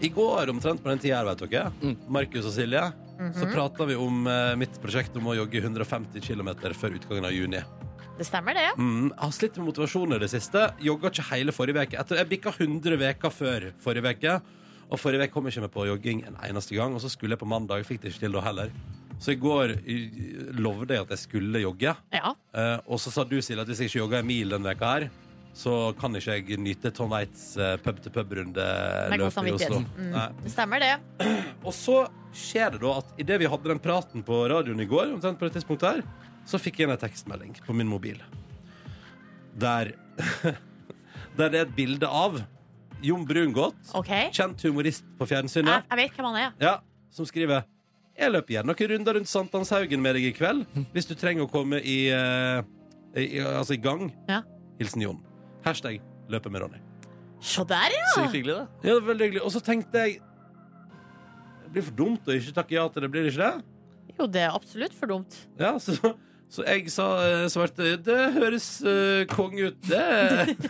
I går omtrent på den tida her, vet dere,
Mm.
Markus og Silje,
Mhm.
så prata vi om eh, mitt prosjekt om å jogge 150 km før utgangen av juni.
Det stemmer, det.
Mm, jeg har slitt med motivasjonen i det siste. Jogga ikke hele forrige uke. Etter- Jeg bikka 100 uker før forrige uke. Og forrige uke kom jeg ikke med på jogging en eneste gang. Og så skulle jeg på mandag, fikk det ikke til da heller. Så i går eh, lovde jeg at jeg skulle jogge.
Ja.
Eh, og så sa du, Silje, at hvis jeg ikke jogger en mil denne veka her, så kan ikke jeg nyte Tom Waits eh, pub-til-pub-runde
Med god
løpet i Oslo.
samvittighet. Mm.
Nei.
Det stemmer, det.
Og så skjer det da at idet vi hadde den praten på radioen i går, omtrent på det tidspunktet her, så fikk jeg en tekstmelding på min mobil. Der Der det er et bilde av Jon Brungot,
OK.
kjent humorist på
Jeg,
fjernsynet,
jeg vet hvem han er.
ja, som skriver Jeg løper gjerne noen runder rundt Sankthanshaugen med deg i kveld,
Hm.
hvis du trenger å komme i, eh, i, altså i gang.
Ja.
Hilsen Jon. Hashtag løper med Ronny.
Se der, ja!
Sykt hyggelig, det.
Ja, det var veldig hyggelig. Og så tenkte jeg Det blir for dumt å ikke takke ja til det, blir det ikke det?
Jo, det er absolutt for dumt.
Ja, så, så jeg sa, eh, svarte Det høres uh, kong ut. Det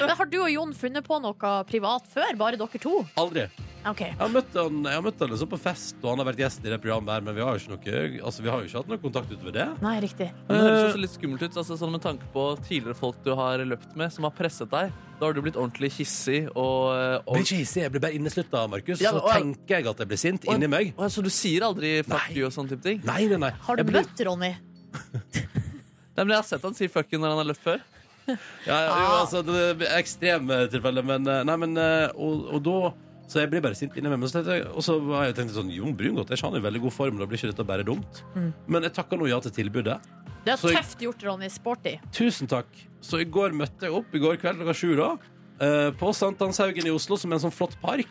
Men har du og Jon funnet på noe privat før? Bare dere to?
Aldri.
Ok.
Jeg har møtt han, jeg har møtt han liksom på fest, og han har vært gjest i det programmet, her, men vi har jo ikke, noe, altså, vi har jo ikke hatt noe kontakt utover det.
Nei, riktig.
Men det høres også litt skummelt ut, altså, sånn med tanke på tidligere folk du har løpt med, som har presset deg. Da har du blitt ordentlig hissig og, eh,
Jeg blir
og
ikke hissig, jeg blir bare inneslutta, Markus.
Ja, men-
så tenker jeg at jeg blir sint inni meg.
Å, Så du sier aldri 'fuck
Nei.
you' og sånne type ting?
Nei, nei, nei.
Har du
Jeg blir-
møtt Ronny?
Nei, men jeg har sett han si 'fuck you' når han har løpt før.
Ja, ja, jo, altså, det er ekstreme tilfeller, men eh, Nei, men eh, Og, og da så jeg blir bare sint inni meg. Men så tenkte jeg, og så var jeg tenkte sånn Jon Brungot jeg, han er i veldig god form. Da blir ikke dette bare dumt. Men jeg takka nå ja til tilbudet.
Det er
Så jeg-
tøft gjort, Ronny. Sporty.
Tusen takk. Så i går møtte jeg opp i går kveld klokka sju da, eh, på Sankthanshaugen i Oslo, som er en sånn flott park.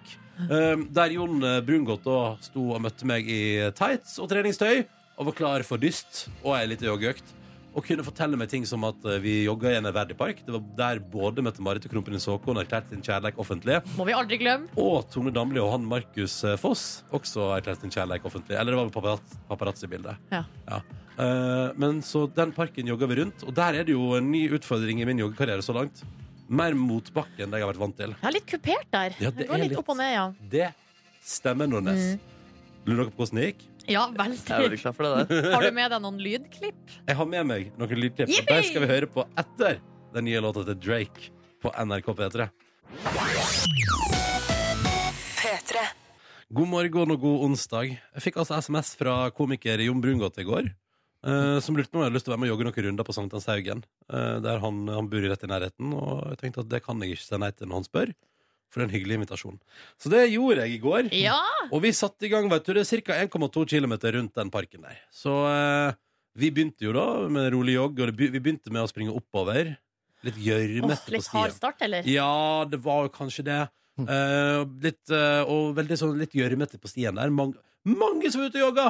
eh, Der Jon eh, Brungot da sto og møtte meg i tights og treningstøy og var klar for dyst og ei lita joggeøkt. Og kunne fortelle meg ting som at eh, vi jogga i en verdig park. Det var der både Mette-Marit og Kronprins Haakon erklærte sin kjærleik offentlig.
Må vi aldri glemme.
Og Tone Damli og han Markus eh, Foss også erklærte sin kjærleik offentlig. Eller det var paparazzi- paparazzi-bildet.
Ja.
Eh, men så den parken jogger vi rundt, og der er det jo en ny utfordring i min joggekarriere så langt. Mer motbakke enn det jeg har vært vant til.
Jeg er litt kupert der.
Ja,
det går litt opp og ned, ja.
Det stemmer, Nordnes.
Mm.
Lurer dere på hvordan det gikk?
Ja,
Jeg er
veldig.
veldig klar for det der.
Har du med deg noen lydklipp?
Jeg har med meg noen lydklipp. og
Yippee!
De skal vi høre på etter den nye låta til Drake på NRK P3.
P3.
God morgen og god onsdag. Jeg fikk altså SMS fra komiker Jon Brungot i går. eh, som lurte på om jeg hadde lyst til å være med og jogge noen runder på Sankthanshaugen. Uh, der han, han bor rett i nærheten. Og jeg tenkte at det kan jeg ikke si nei til når han spør. For det er en hyggelig invitasjon. Så det gjorde jeg i går.
Ja!
Og vi satte i gang, vet du, det er ca. 1,2 km rundt den parken der. Så eh, vi begynte jo da med en rolig jogg, og det be vi begynte med å springe oppover. Litt
Åh,
gjørmete på
litt Hm. hard
stien.
start, eller?
Ja, det var jo kanskje det. Eh, litt, eh, og veldig sånn litt gjørmete på stien der. Mange, mange som var ute og jogga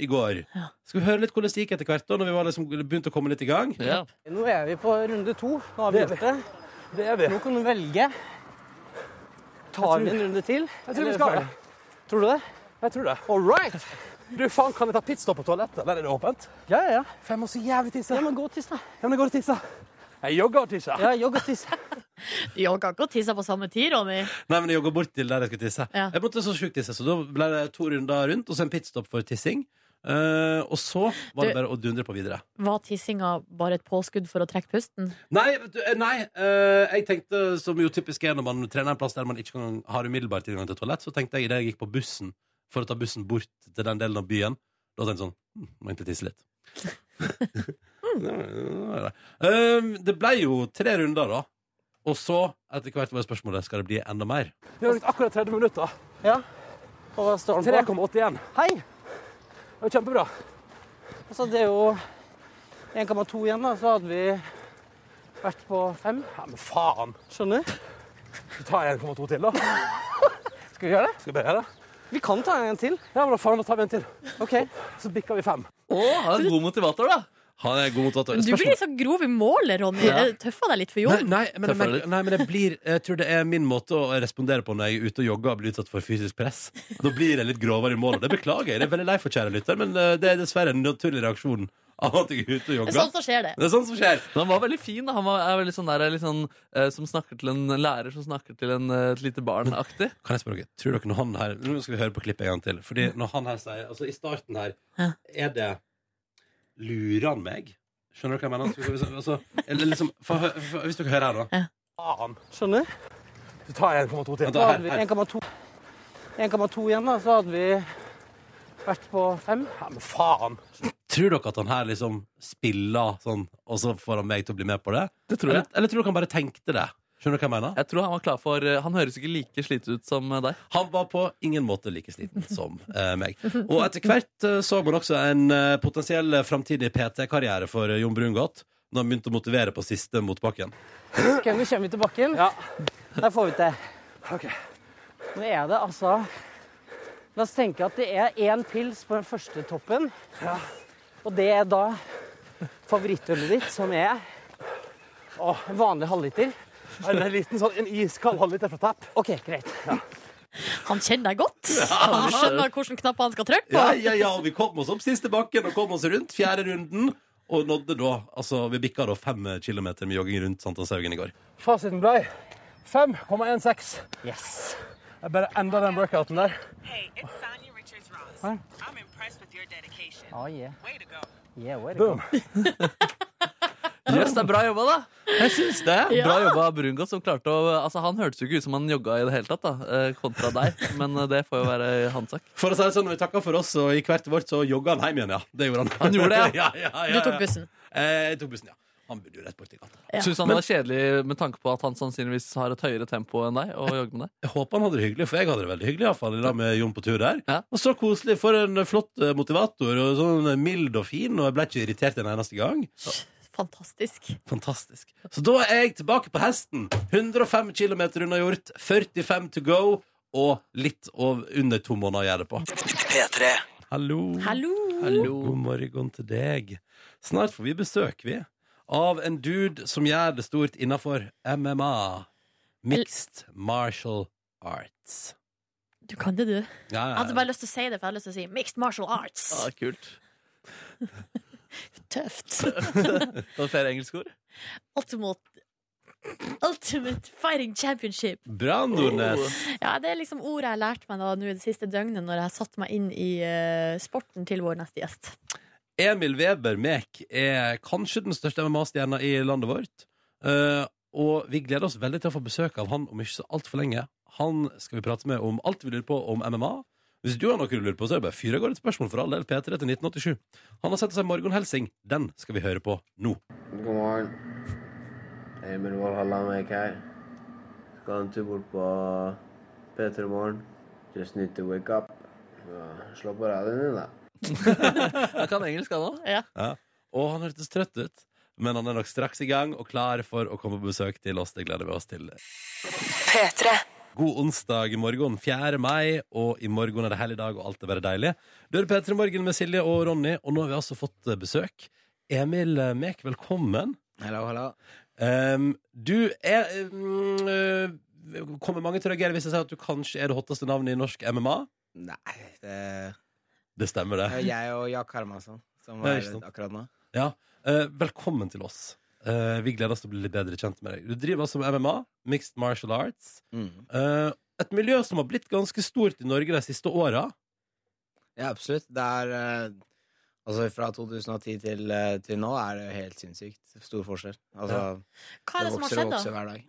i går.
Ja.
Skal vi høre litt hvordan det gikk etter hvert, da, når vi var liksom begynte å komme litt i gang?
Ja.
Nå er vi på runde to. Nå har vi gjort det. Nå kan du velge. Tar vi en runde til? Jeg tror vi skal det. Tror du det? Jeg tror det. All right!
Du, faen, kan jeg ta pitstop på toalettet? Der er det åpent.
Ja, ja, ja.
For jeg må så jævlig tisse.
Ja, men gå og tiss, da.
Ja, men jeg går og tisser. Jeg jogger og tisser.
Ja, jogg og tiss.
Jeg kan ikke tisse på samme tid, Ronny.
Nei, men jeg jogga bort til der jeg skulle tisse.
Ja.
Jeg måtte så sjukt tisse, så da ble det to runder rundt, og så en pitstop for tissing. Eh, og så var det
Du-
bare å dundre på videre.
Var tissinga bare et påskudd for å trekke pusten?
Nei, vet du, eh, nei eh, jeg tenkte, som jo typisk er når man trener en plass der man ikke kan, har umiddelbar tilgang til toalett, så tenkte jeg idet jeg gikk på bussen for å ta bussen bort til den delen av byen, da tenkte jeg sånn hm, Må egentlig tisse litt. Eh, det ble jo tre runder, da. Og så, etter hvert, var spørsmålet skal det bli enda mer.
Vi har brukt akkurat 30 minutter.
Ja. Og hva står den på?
3,81.
Hei!
Det var kjempebra.
Altså, det er jo 1,2 igjen, da. Så hadde vi vært på fem.
Ja, men faen.
Skjønner du?
Så tar jeg 1,2 til, da.
Skal vi gjøre det?
Skal jeg bare gjøre det?
Vi kan ta en til.
Ja, men da faen, da tar vi en til.
OK.
Så bikker vi fem.
Å, han er en god motivator, da.
Han er god motivator.
Du blir litt sånn grov i målet, Ronny.
Ja.
Jeg Tøffa deg litt for
Nei,
Jon.
nei, men jeg,
Tøffere
merker,
litt.
nei, men jeg blir Jeg tror det er min måte å respondere på når jeg er ute og jogger og blir utsatt for fysisk press. Da blir jeg litt grovere i målet. Det beklager jeg. Det er veldig lei for, kjære lytter, men eh, det er dessverre en naturlig reaksjon av at jeg er ute og
Det
jogger.
er sånn som skjer, det.
Det er sånn som skjer.
Men han var veldig fin. da. Han var, er veldig sånn der, litt sånn, eh, som snakker til en lærer som snakker til en, eh, et lite barn-aktig.
Kan jeg spørre dere, tror dere når han her Nå skal vi høre på klippet en gang til. Fordi når han her sier Altså, i starten her,
Ja.
er det Lurer han meg? Skjønner dere hva jeg mener? Skal vi- Altså, eller liksom for, for, for, Hvis dere hører her, da.
Faen.
Skjønner du?
Så tar jeg 1,2 til.
Vent
Så
da,
hadde
her,
vi
her.
1,2 1,2 igjen, da. Så hadde vi vært på fem.
Ja, men faen.
Tror dere at han her liksom spiller sånn, og så får han meg til å bli med på det?
Det tror jeg.
Eller, eller tror dere han bare tenkte det? Skjønner dere hva jeg mener?
Jeg tror Han var klar for eh, Han høres ikke like sliten ut som eh, deg.
Han var på ingen måte like sliten som eh, meg. Og etter hvert eh, så man også en eh, potensiell framtidig PT-karriere for eh, Jon Brungot. Når han begynte å motivere på siste motbakken.
Ok, nå kommer vi til bakken.
Ja.
Der får vi til.
OK.
Nå er det altså La oss tenke at det er én pils på den første toppen. Og det er da favorittølet ditt, som er
Åh.
en vanlig halvliter.
En liten sånn en iskald halvliter fra Tapp.
OK, greit.
Han kjenner deg godt. Han skjønner hvilken knapp han skal trykke på.
Ja, ja, ja, og Vi kom oss opp siste bakken og kom oss rundt fjerde runden. Og nådde da, altså vi bikka da fem kilometer med jogging rundt Sankthanshaugen i går.
Fasiten ble 5,16.
Yes.
Jeg bare enda den workouten der.
Hey, it's Sonya Richards Ross. I'm impressed with your dedication.
Oh, yeah.
Way to go.
Yeah, where
Boom.
Yes, det er bra jobba, da!
Jeg syns det!
Bra jobba av Brungot, som klarte å Altså, han hørtes jo ikke ut som han jogga i det hele tatt, da, eh, kontra deg. Men eh, det får jo være hans sak.
For å si det sånn, når vi takka for oss og gikk hvert vårt, så jogga han hjem igjen, ja. Det gjorde han.
Han gjorde det,
ja. ja, ja,
Du tok bussen.
Eh, jeg tok bussen, ja. Han bodde jo rett borti gata.
Ja.
Syns han det var kjedelig med tanke på at han sannsynligvis har et høyere tempo enn deg? Og jogger med deg
Jeg håper han hadde det hyggelig, for jeg hadde det veldig hyggelig. i hvert fall, i lag med Jon på tur der.
Ja.
Og så koselig. For en flott eh, motivator. og sånn Mild og fin. Og jeg ble ikke irritert en eneste gang.
Fantastisk.
Fantastisk. Så da er jeg tilbake på hesten. 105 km unnagjort, 45 to go og litt over, under to måneder å gjøre det på. Hallo.
Hallo.
God morgen til deg. Snart får vi besøk, vi, av en dude som gjør det stort innafor MMA. Mixed Martial Arts.
Du kan det, du.
Ja,
Jeg
ja,
hadde
ja.
Altså, bare lyst til å si det, for jeg hadde lyst til å si mixed martial arts.
Ja, kult.
Tøft.
Var det flere engelskord?
Ultimate Ultimate Fighting Championship.
Bra, Nordnes.
Oh.
Ja, Det er liksom ordet jeg lærte meg da nå det siste døgnet når jeg satte meg inn i eh, sporten til vår neste gjest.
Emil Weber Mek er kanskje den største MMA-stjerna i landet vårt. Eh, og vi gleder oss veldig til å få besøk av han om ikke så altfor lenge. Han skal vi prate med om alt vi lurer på om MMA. Hvis du har noe du lurer på, så er det bare å fyre av gårde et spørsmål for all del. P3 til 1987. Han har sendt oss en morgenhelsing. Den skal vi høre på nå.
God morgen. Emil Valhalla Mek her. Skal en tur bort på P3 Morgen. Just need to wake up. Ja, Slå på radioen din, da.
Jeg kan engelsk, han òg.
Ja.
Ja. Og han hørtes trøtt ut, men han er nok straks i gang og klar for å komme på besøk til oss. Det gleder vi oss til.
P3.
God onsdag i morgen, 4. mai, og i morgen er det helligdag, og alt er bare deilig. Du er P3 Morgen med Silje og Ronny, og nå har vi altså fått eh, besøk. Emil eh, Mek, velkommen.
Hallo, hallo.
du er um, Kommer mange til å reagere hvis jeg sier at du kanskje er det hotteste navnet i norsk MMA?
Nei, det
Det stemmer,
det er
det.
jeg og Jack Hermansson som
Ja,
er
ikke sant.
akkurat nå.
Ja. eh, velkommen til oss. Eh, vi gleder oss til å bli litt bedre kjent med deg. Du driver altså med MMA, Mixed Martial Arts.
Mhm.
Eh, et miljø som har blitt ganske stort i Norge de siste åra.
Ja, absolutt. Det er eh, Altså, fra 2010 til, eh, til nå er det helt sinnssykt stor forskjell. Altså,
Hva er det som har
vokser og
skjedd, da?
vokser hver dag.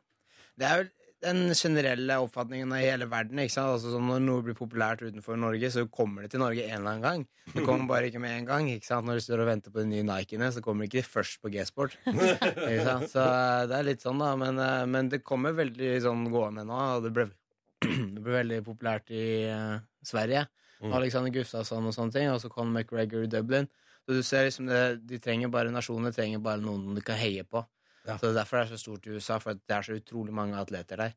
Det er jo den generelle oppfatningen av hele verden. Ikke sant? Altså, sånn, når noe blir populært utenfor Norge, så kommer det til Norge en eller annen gang. Det kommer bare ikke med en gang. Ikke sant? Når du står og venter på de nye Nikene, så kommer ikke de først på G-sport. Ikke sant? Så eh, det er litt sånn, da. Men, eh, men det kommer veldig sånn gående nå, og det ble, det ble veldig populært i eh, Sverige.
Mm.
Alexander Gustafsson og sånne ting, og så Conor McGregor i Dublin. Så du ser liksom det, de trenger bare nasjonene trenger bare noen du kan heie på. Så det er Derfor er det så stort i USA, for at det er så utrolig mange atleter der.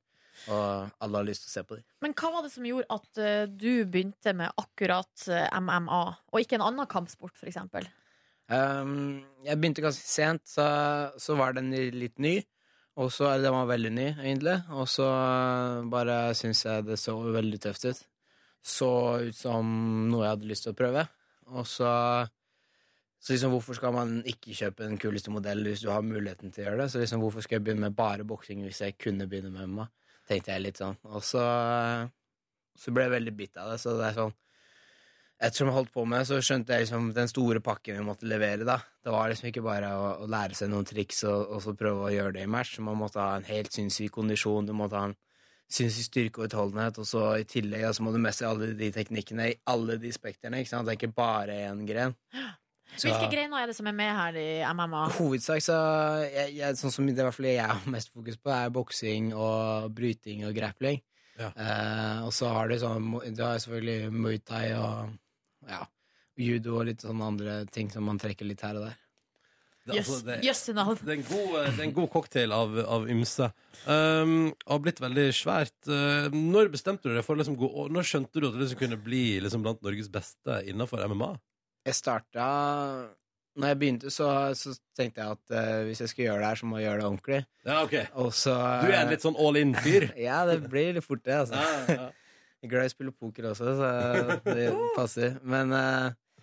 Og alle har lyst til å se på dem.
Men hva var det som gjorde at eh, du begynte med akkurat eh, MMA, og ikke en annen kampsport, for eksempel?
Um, jeg begynte ganske sent, så, så var den litt ny. Og så, eller Den var veldig ny, egentlig. Og så eh, bare syntes jeg det så veldig tøft ut. Så ut som noe jeg hadde lyst til å prøve. Og så Så liksom, hvorfor skal man ikke kjøpe den kuleste modellen hvis du har muligheten til å gjøre det? Så liksom, hvorfor skal jeg begynne med bare boksing hvis jeg kunne begynne med MMA? Tenkte jeg litt sånn. Og så, eh, så ble jeg veldig bitt av det, så det er sånn ettersom jeg holdt på med det, så skjønte jeg liksom den store pakken vi måtte levere. da. Det var liksom ikke bare å, å lære seg noen triks og, og så prøve å gjøre det i match. Man måtte ha en helt sinnssyk kondisjon, du måtte ha en sinnssyk styrke og utholdenhet, og så i tillegg ja, så må du mestre alle de teknikkene i alle de spekterne. ikke sant? Det er ikke bare én gren. Så- Altså,
Hvilke greiner er det som er med her i MMA?
Hovedsak så jeg, jeg, Sånn som det i hvert fall jeg har mest fokus på, er boksing og bryting og grappling. Eh, og så har du sånn mo- Du har selvfølgelig muay thai og ja, judo og litt sånne andre ting som man trekker litt her og der.
Det er altså- det-
Jøsse navn.
Det er en god, eh, det er en god cocktail av, av ymse. Um, har blitt veldig svært. Uh, når bestemte du deg for å liksom gå og Når skjønte du at du liksom kunne bli liksom blant Norges beste innenfor MMA?
Jeg starta Når jeg begynte, så, så tenkte jeg at eh, hvis jeg skal gjøre det her, så må jeg gjøre det ordentlig.
Ja, ok
Og så eh,
Du er en litt sånn all in-fyr.
ja, det blir litt fort det, altså. Jeg er glad i å spille poker også, så det passer. Men eh,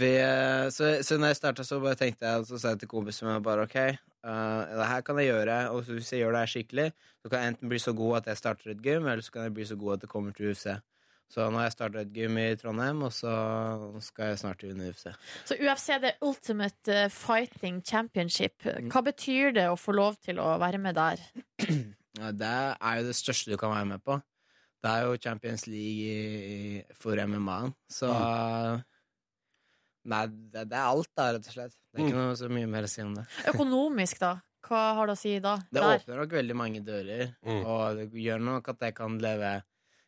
vi, eh, så, så når jeg starta, så bare tenkte jeg Så sa jeg til kompisen min bare OK, eh, det her kan jeg gjøre. Og så hvis jeg gjør det her skikkelig, så kan jeg enten bli så god at jeg starter et gym, eller så kan jeg bli så god at det kommer til UFC. Så nå har jeg starta et gym i Trondheim, og så skal jeg snart til UFC.
Så UFC det er Ultimate eh, Fighting Championship.
Mm.
Hva betyr det å få lov til å være med der?
Ja, Det er jo det største du kan være med på. Det er jo Champions League i- i- for MMA-en, så
Mm.
Nei, det, det er alt, da, rett og slett. Det er
Mm.
ikke noe så mye mer å si om det.
Økonomisk, da? Hva har det å si da?
Det
Der.
åpner nok veldig mange dører,
Mm.
og det gjør nok at jeg kan leve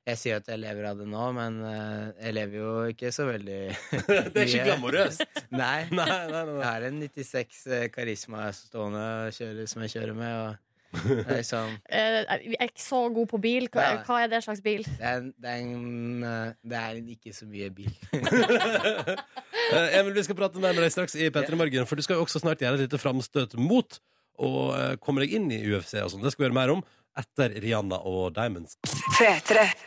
Jeg sier at jeg lever av det nå, men eh, jeg lever jo ikke så veldig Det
er ikke glamorøst.
nei.
Nei, nei, nei.
Jeg har en 96 eh, karisma stående kjører, som jeg kjører med, og det er liksom
Eh, Jeg er ikke så god på bil. Hva,
Nei.
hva er det slags bil?
Det er, en- det er, en, eh, det er en ikke så mye bil.
Eh, Emil, vi skal prate mer med deg straks i Petter i morgen, for du skal jo også snart gjøre et lite framstøt mot å eh, komme deg inn i UFC og sånn. Det skal vi høre mer om etter Rihanna og Diamonds.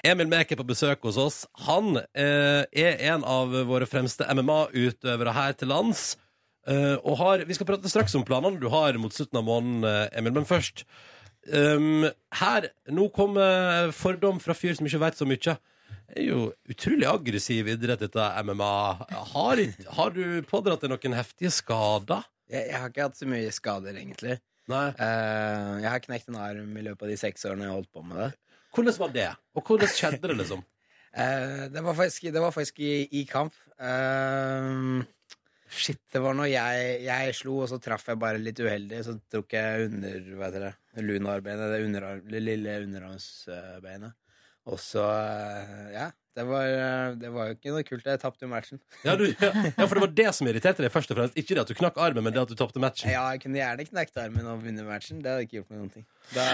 Emil Mek er på besøk hos oss. Han eh, er en av våre fremste MMA-utøvere her til lands. Eh, og har, vi skal prate straks om planene du har mot slutten av måneden, eh, Emil, men først Um, her, nå kommer fordom fra fyr som ikke vet så mye. Det er jo utrolig aggressiv idrett, dette MMA. Har, har du pådratt deg noen heftige skader?
Jeg, jeg har ikke hatt så mye skader, egentlig. Eh, jeg har knekt en arm i løpet av de seks årene jeg har holdt på med det.
Hvordan var det? Og hvordan skjedde det, liksom?
Eh, det, var faktisk, det var faktisk i, i kamp. Eh, shit, det var når jeg, jeg slo, og så traff jeg bare litt uheldig. Så tok jeg under, hva heter det, lunarbeinet, det, underarm, det lille underarmsbeinet. Og så, eh, ja. Det var, eh, det var jo ikke noe kult. Jeg tapte jo matchen.
Ja, du, ja, ja, for det var det som irriterte deg først og fremst. Ikke det at du knakk armen, men det at du tapte matchen.
Ja, jeg kunne gjerne knekt armen og vunnet matchen. Det hadde ikke gjort meg noen ting. Da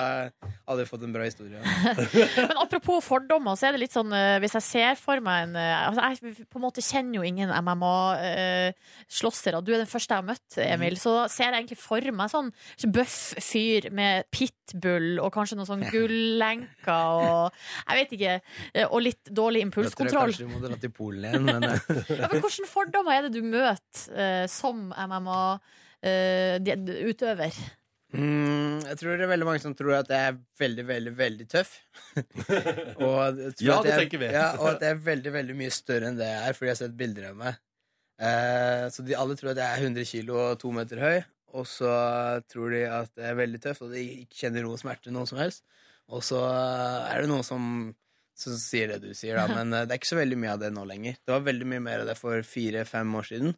hadde jeg fått en bra historie.
Men apropos fordommer, så er det litt sånn eh, Hvis jeg ser for meg en eh, altså Jeg på en måte kjenner jo ingen MMA-slåssere. eh, Du er den første jeg har møtt, Emil.
Mm.
Så da ser jeg egentlig for meg sånn bøff fyr med pitbull og kanskje noen sånn gullenker og Jeg vet ikke. eh, Og litt dårlig
Jeg tror jeg
impulskontroll.
kanskje du må dra til Polen igjen, men eh,
Ja, men hvilke fordommer er det du møter eh, som eh, MMA-utøver?
mm, Jeg tror det er veldig mange som tror at jeg er veldig, veldig, veldig tøff. og jeg tror
Ja,
at
det
jeg-
tenker vi.
Ja, og at jeg er veldig, veldig mye større enn det jeg er, fordi jeg har sett bilder av meg. Eh, så de alle tror at jeg er 100 kilo og to meter høy, og så tror de at jeg er veldig tøff, og de ikke kjenner noe smerte noe som helst. Og så eh, er det noen som, som sier det du sier, da, men eh, det er ikke så veldig mye av det nå lenger. Det var veldig mye mer av det for fire-fem år siden.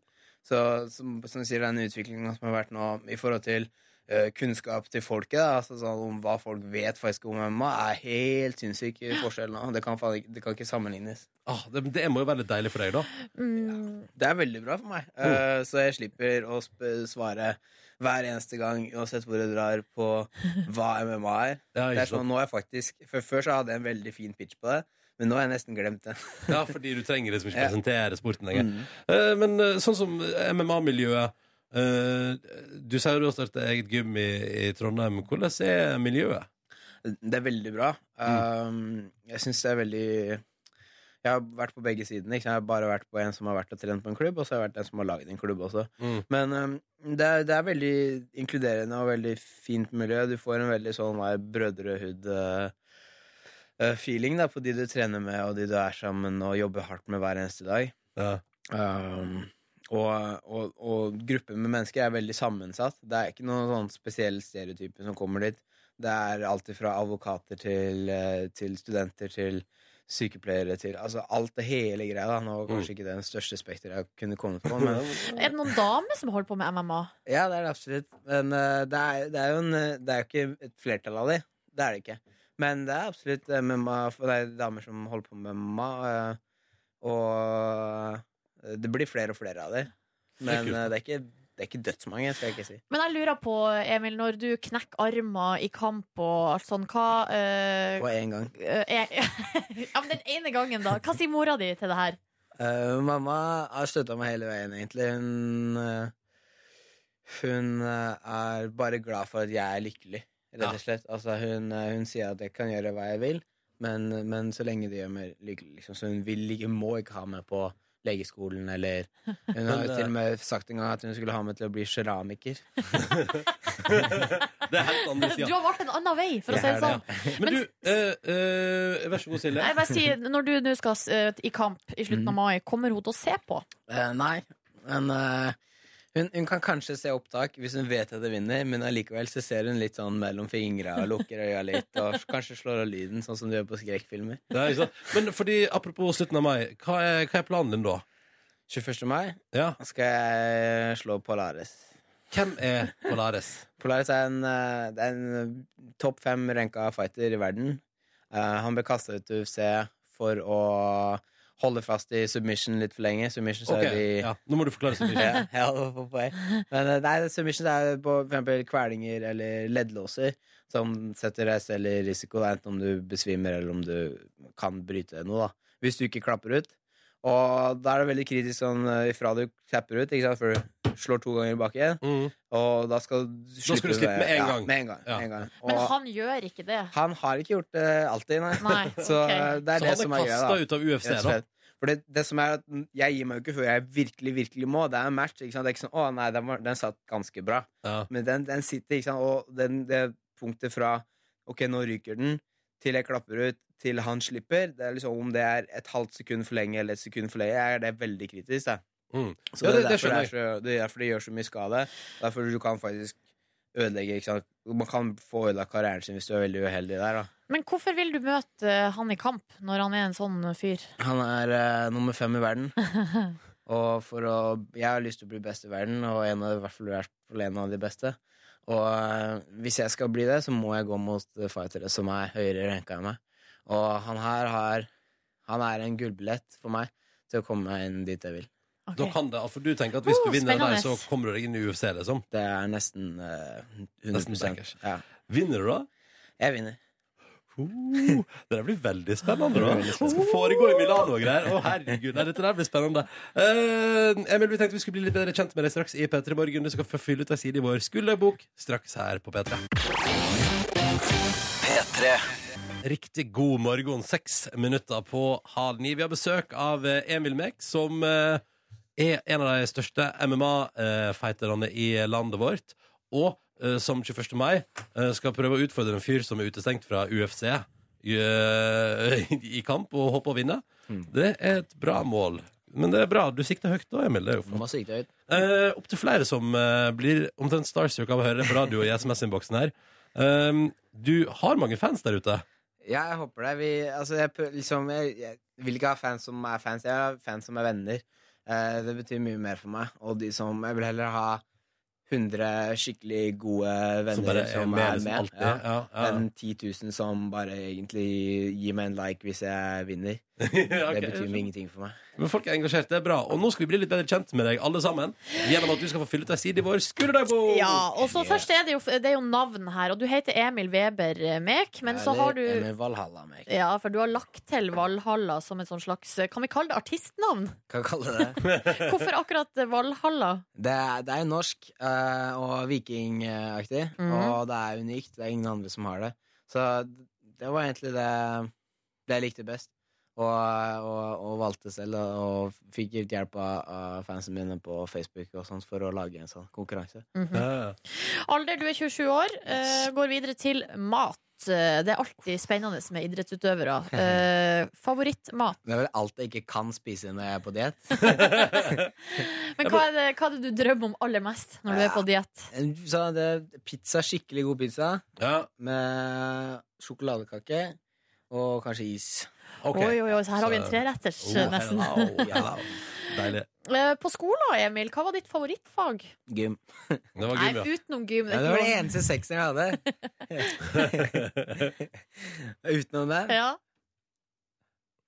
Så som, som du sier, den utviklingen som har vært nå i forhold til eh, kunnskap til folket, da, altså sånn om hva folk vet faktisk om MMA, er helt sinnssyk forskjell nå. Det kan, faen ikke, det kan ikke sammenlignes.
Ah, det, det må jo være litt deilig for deg, da.
Det er veldig bra for meg,
Mm.
eh, så jeg slipper å sp svare hver eneste gang, uansett hvor jeg drar, på hva MMA er.
ikke
det er
sant.
sånn, nå er jeg faktisk, for Før så hadde jeg en veldig fin pitch på det, men nå har jeg nesten glemt Mm. den.
Ja, fordi du trenger liksom ikke
Ja.
presentere sporten lenger. Eh, men eh, sånn som MMA-miljøet eh, Du sier du har startet eget gym i, i Trondheim. Hvordan er miljøet?
Det er veldig bra. Um, jeg syns det er veldig Jeg har vært på begge sidene. Ikke? sant? Jeg har bare vært på en som har vært og trent på en klubb, og så har jeg vært en som har laget en klubb også.
Mm.
Men um, det, er, det er veldig inkluderende og veldig fint miljø. Du får en veldig sånn eh, brødrehud-feeling uh, da, på de du trener med, og de du er sammen og jobber hardt med hver eneste dag. Um, og, og, og grupper med mennesker er veldig sammensatt. Det er ikke noen sånn spesiell stereotype som kommer dit. Det er alt fra advokater til, eh, til studenter til sykepleiere til Altså alt det hele greia. da Nå var kanskje ikke det den største spekteret jeg kunne kommet på, men
Er det noen damer som holder på med MMA?
ja, det er det absolutt. Men eh, det, er, det, er jo en, eh, det er jo ikke et flertall av de. Det er det ikke. Men det er absolutt eh, MMA, for det er damer som holder på med MMA, eh, og eh, det blir flere og flere av de. Men
kult.
eh, det er ikke, det er ikke dødsmange, skal jeg ikke si.
Men jeg lurer på, Emil, når du knekker armer i kamp og alt sånn, hva eh,
På én gang.
eh, er- Ja, men den ene gangen, da. Hva sier mora di til det her?
Eh, mamma har støtta meg hele veien, egentlig. Hun, eh, hun eh, er bare glad for at jeg er lykkelig, rett og slett. Altså, hun, eh, hun sier at jeg kan gjøre hva jeg vil, men, men så lenge det gjør meg lykkelig. Liksom. Så hun vil, ikke- må ikke ha meg på legeskolen eller Hun har
Men,
jo
eh,
til og med sagt en gang at hun skulle ha meg til å bli keramiker.
Det er helt andre
Du har valgt en annen vei, for å
Det
si
er
det sånn.
Men, du, eh, eh, vær så god, Silje.
Nei, bare si, når du nå skal eh, i kamp i slutten av mai, kommer hun til å se på?
Eh, nei, men eh, hun, hun kan kanskje se opptak hvis hun vet at jeg vinner, men allikevel så ser hun litt sånn mellom fingra og lukker øya litt, og kanskje slår av lyden, sånn som du gjør på skrekkfilmer.
Ja, ikke sant? Men fordi, apropos slutten av mai, hva er, hva er planen din da?
21. mai
ja.
skal jeg slå Polaris.
Hvem er Polaris?
Polaris er en, eh, det er en eh, topp fem ranka fighter i verden. Eh, han ble kasta ut til UFC for å holde fast i submission litt for lenge. Submission så
Ok,
er de
ja. Nå må du forklare submission.
ja, ja, det var på poeng. Men eh, nei, submission er på for eksempel kvelinger eller leddlåser som setter deg selv i risiko, da, enten om du besvimer eller om du kan bryte noe, da. Hvis du ikke klapper ut. Og da er det veldig kritisk sånn eh, ifra du klapper ut, ikke sant, for du slår to ganger bak igjen,
Mm.
og da skal du
Da skal du slippe med en
ja,
gang.
Med en gang,
Ja.
med en gang. Og
Men han gjør ikke det.
han har ikke gjort det alltid, nei.
Nei,
Så
ok.
Så
eh, det er det
han er
som er greia.
kastet ut av UFC
Rett
da?
og slett. For det, det som er at Jeg gir meg jo ikke før jeg virkelig virkelig må. Det er en match. ikke sant? Det er ikke sånn, å nei, den, var, den satt ganske bra. Men den, den sitter, ikke sant. Og den, det punktet fra Ok, nå ryker den. Til jeg klapper ut, til han slipper. Det er liksom Om det er et halvt sekund for lenge eller et sekund for lenge, er det veldig kritisk. Da.
Mm.
Så
Ja, det-
det, er
det
derfor det,
skjønner
er så, det er derfor det gjør så mye skade. Derfor du kan faktisk ødelegge ikke sant? Man kan få ødelagt karrieren sin hvis du er veldig uheldig der. Da.
Men hvorfor vil du møte eh, han i kamp når han er en sånn fyr?
Han er eh, nummer fem i verden. Og for å, jeg har lyst til å bli best i verden, og en av, i hvert fall vært på en av de beste. Og eh, hvis jeg skal bli det, så må jeg gå mot eh, fightere som er høyere ranka enn meg. Og han her har Han er en gullbillett for meg til å komme meg inn dit jeg vil.
Da kan det, for du tenker at hvis du
Oh,
vinner der,
spennende.
så kommer du deg inn i UFC, liksom?
Det er nesten eh, 100
Nesten bankers.
ja.
Vinner du, da?
Jeg vinner.
Uh, det der blir veldig spennende. Da. Det skal foregå i Milano og greier. Å, herregud, nei, dette der blir spennende. Eh, Emil, vi tenkte vi skulle bli litt bedre kjent med deg straks i P3 Morgen. Du skal få fylle ut ei side i vår skulderbok straks her på P3. P3. Riktig god morgen. Seks minutter på halv ni. Vi har besøk av eh, Emil Mek, som eh, er en av de største MMA-fighterne eh, i landet vårt. Og eh, som 21. mai eh, skal prøve å utfordre en fyr som er utestengt fra UFC i, eh, i kamp, og håpe å vinne. Det er et bra mål. Men det er bra. Du sikter høyt da, Emil. Det er jo flott.
Masse riktig høyt.
Eh, Opptil flere som eh, blir omtrent starstruck av å høre det på radio og i SMS-innboksen her. Um, du har mange fans der ute.
Ja, jeg håper det. Vi, altså, jeg, prø- liksom, jeg, jeg vil ikke ha fans som er fans. Jeg har fans som er venner. Eh, det betyr mye mer for meg. Og de som Jeg vil heller ha 100 skikkelig gode venner
Som bare er
som,
med,
er
liksom,
med,
alltid. Ja, ja, ja.
enn 10 000 som bare egentlig gir meg en like hvis jeg vinner.
ok,
det betyr
jeg skjønner.
ingenting for meg.
Men folk er engasjert, det er bra. Og nå skal vi bli litt bedre kjent med deg alle sammen. Gjennom at du skal få fylle ut ei side i vår skulderdagbok.
Ja, og så først er det, jo, det er jo navn her, og du heter Emil Weber eh, Mek, men så
Eller
har du
Emil Valhalla, meg.
ja, for du har lagt til Valhalla som et sånn slags Kan vi kalle det artistnavn?
Hva kaller du det?
Hvorfor akkurat eh, Valhalla?
Det er, det er norsk eh, og vikingaktig,
Mhm.
og det er unikt. Det er ingen andre som har det. Så det var egentlig det, det jeg likte best. Og, og, og valgte selv, og, og fikk litt hjelp av, av fansen mine på Facebook og sånt for å lage en sånn konkurranse.
Mhm. Alder, du er 27 år. eh, går videre til mat. Eh, Det er alltid spennende med idrettsutøvere.
Mhm.
Eh, favorittmat.
Det er vel alt jeg ikke kan spise når jeg er på diett.
Men hva er, det, hva er det du drømmer om aller mest når du er
Ah,
på diett?
En- Så det er pizza, skikkelig god pizza Med sjokoladekake Og kanskje is
Oi, oi, oi, så her har vi en treretters,
Oh,
nesten.
hello, hello.
Oh, Deilig
Eh, På skolen, Emil, hva var ditt favorittfag?
Gym
Det var
Nei, utenom gym.
ja,
er
Det
ikke
var den
lov.
eneste seksen jeg hadde Utenom det
Ja.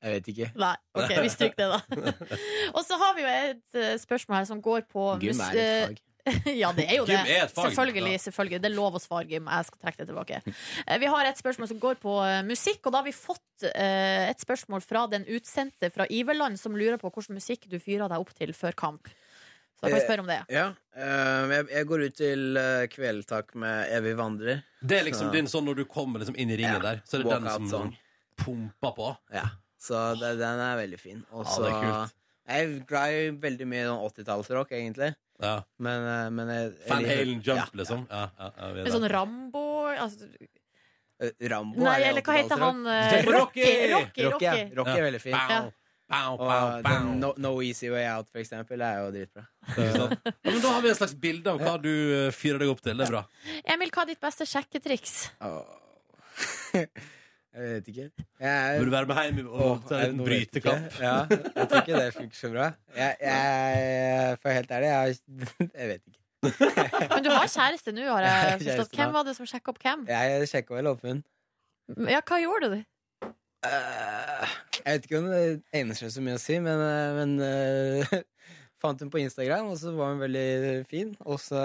Jeg vet ikke
Nei, ok, vi stryker det, da. Og så har vi jo et eh, spørsmål her som går på
Gym
mus- eh,
er et fag.
ja, det er jo det.
Gym er et fag.
Selvfølgelig.
Ja.
selvfølgelig Det er lov å svare gym. Jeg skal trekke det tilbake. Eh, Vi har et spørsmål som går på eh, musikk, og da har vi fått eh, et spørsmål fra den utsendte fra Iverland som lurer på hvilken musikk du fyrer deg opp til før kamp. Så da kan vi spørre om det.
Ja, eh, jeg, jeg går ut til eh, kveldtak med Evig vandrer
Det er liksom
Så-
din sånn når du kommer liksom inn i ringen der, så er det den som
Walkout-song.
pumper på.
Ja, så det, den er veldig fin. Og
Ja,
så
det er kult.
Jeg er glad i veldig mye sånn 80-tallsrock, egentlig. Men, eh, men jeg, jeg
Van
liker-
Halen
Ja.
Jump, liksom. Ja, ja, ja, vi er
En sånn
der.
Rambo altså,
Eh, Rambo
Nei,
er
eller hva heter
80-tallsrock.
han, eh, Rocky, Rocky,
Rocky, ja.
Rocky.
Rocky
Ja.
er veldig fin.
Bow, bow, bow,
Og den no, no Easy Way Out, for eksempel, er jo dritbra.
Ja, men da har vi et slags bilde av hva du eh, fyrer deg opp til. Det er bra.
Emil, hva er ditt beste sjekketriks?
Jeg vet ikke. Jeg,
Burde være med hjem og
Åh,
ta
jeg-
en
nå vet jeg
brytekamp.
ikke. Ja, jeg tror ikke det funker så bra. Jeg, jeg, for helt ærlig, jeg, jeg vet ikke.
Men du har kjæreste nå, har jeg
Jeg har kjæreste
forstått. Hvem
nå.
var det som sjekka opp hvem?
Jeg sjekka vel opp hun.
Ja, hva gjorde du?
Øh, Jeg vet ikke om det egner seg så mye å si, men, eh, men eh, fant hun på Instagram, og så var hun veldig fin. Og så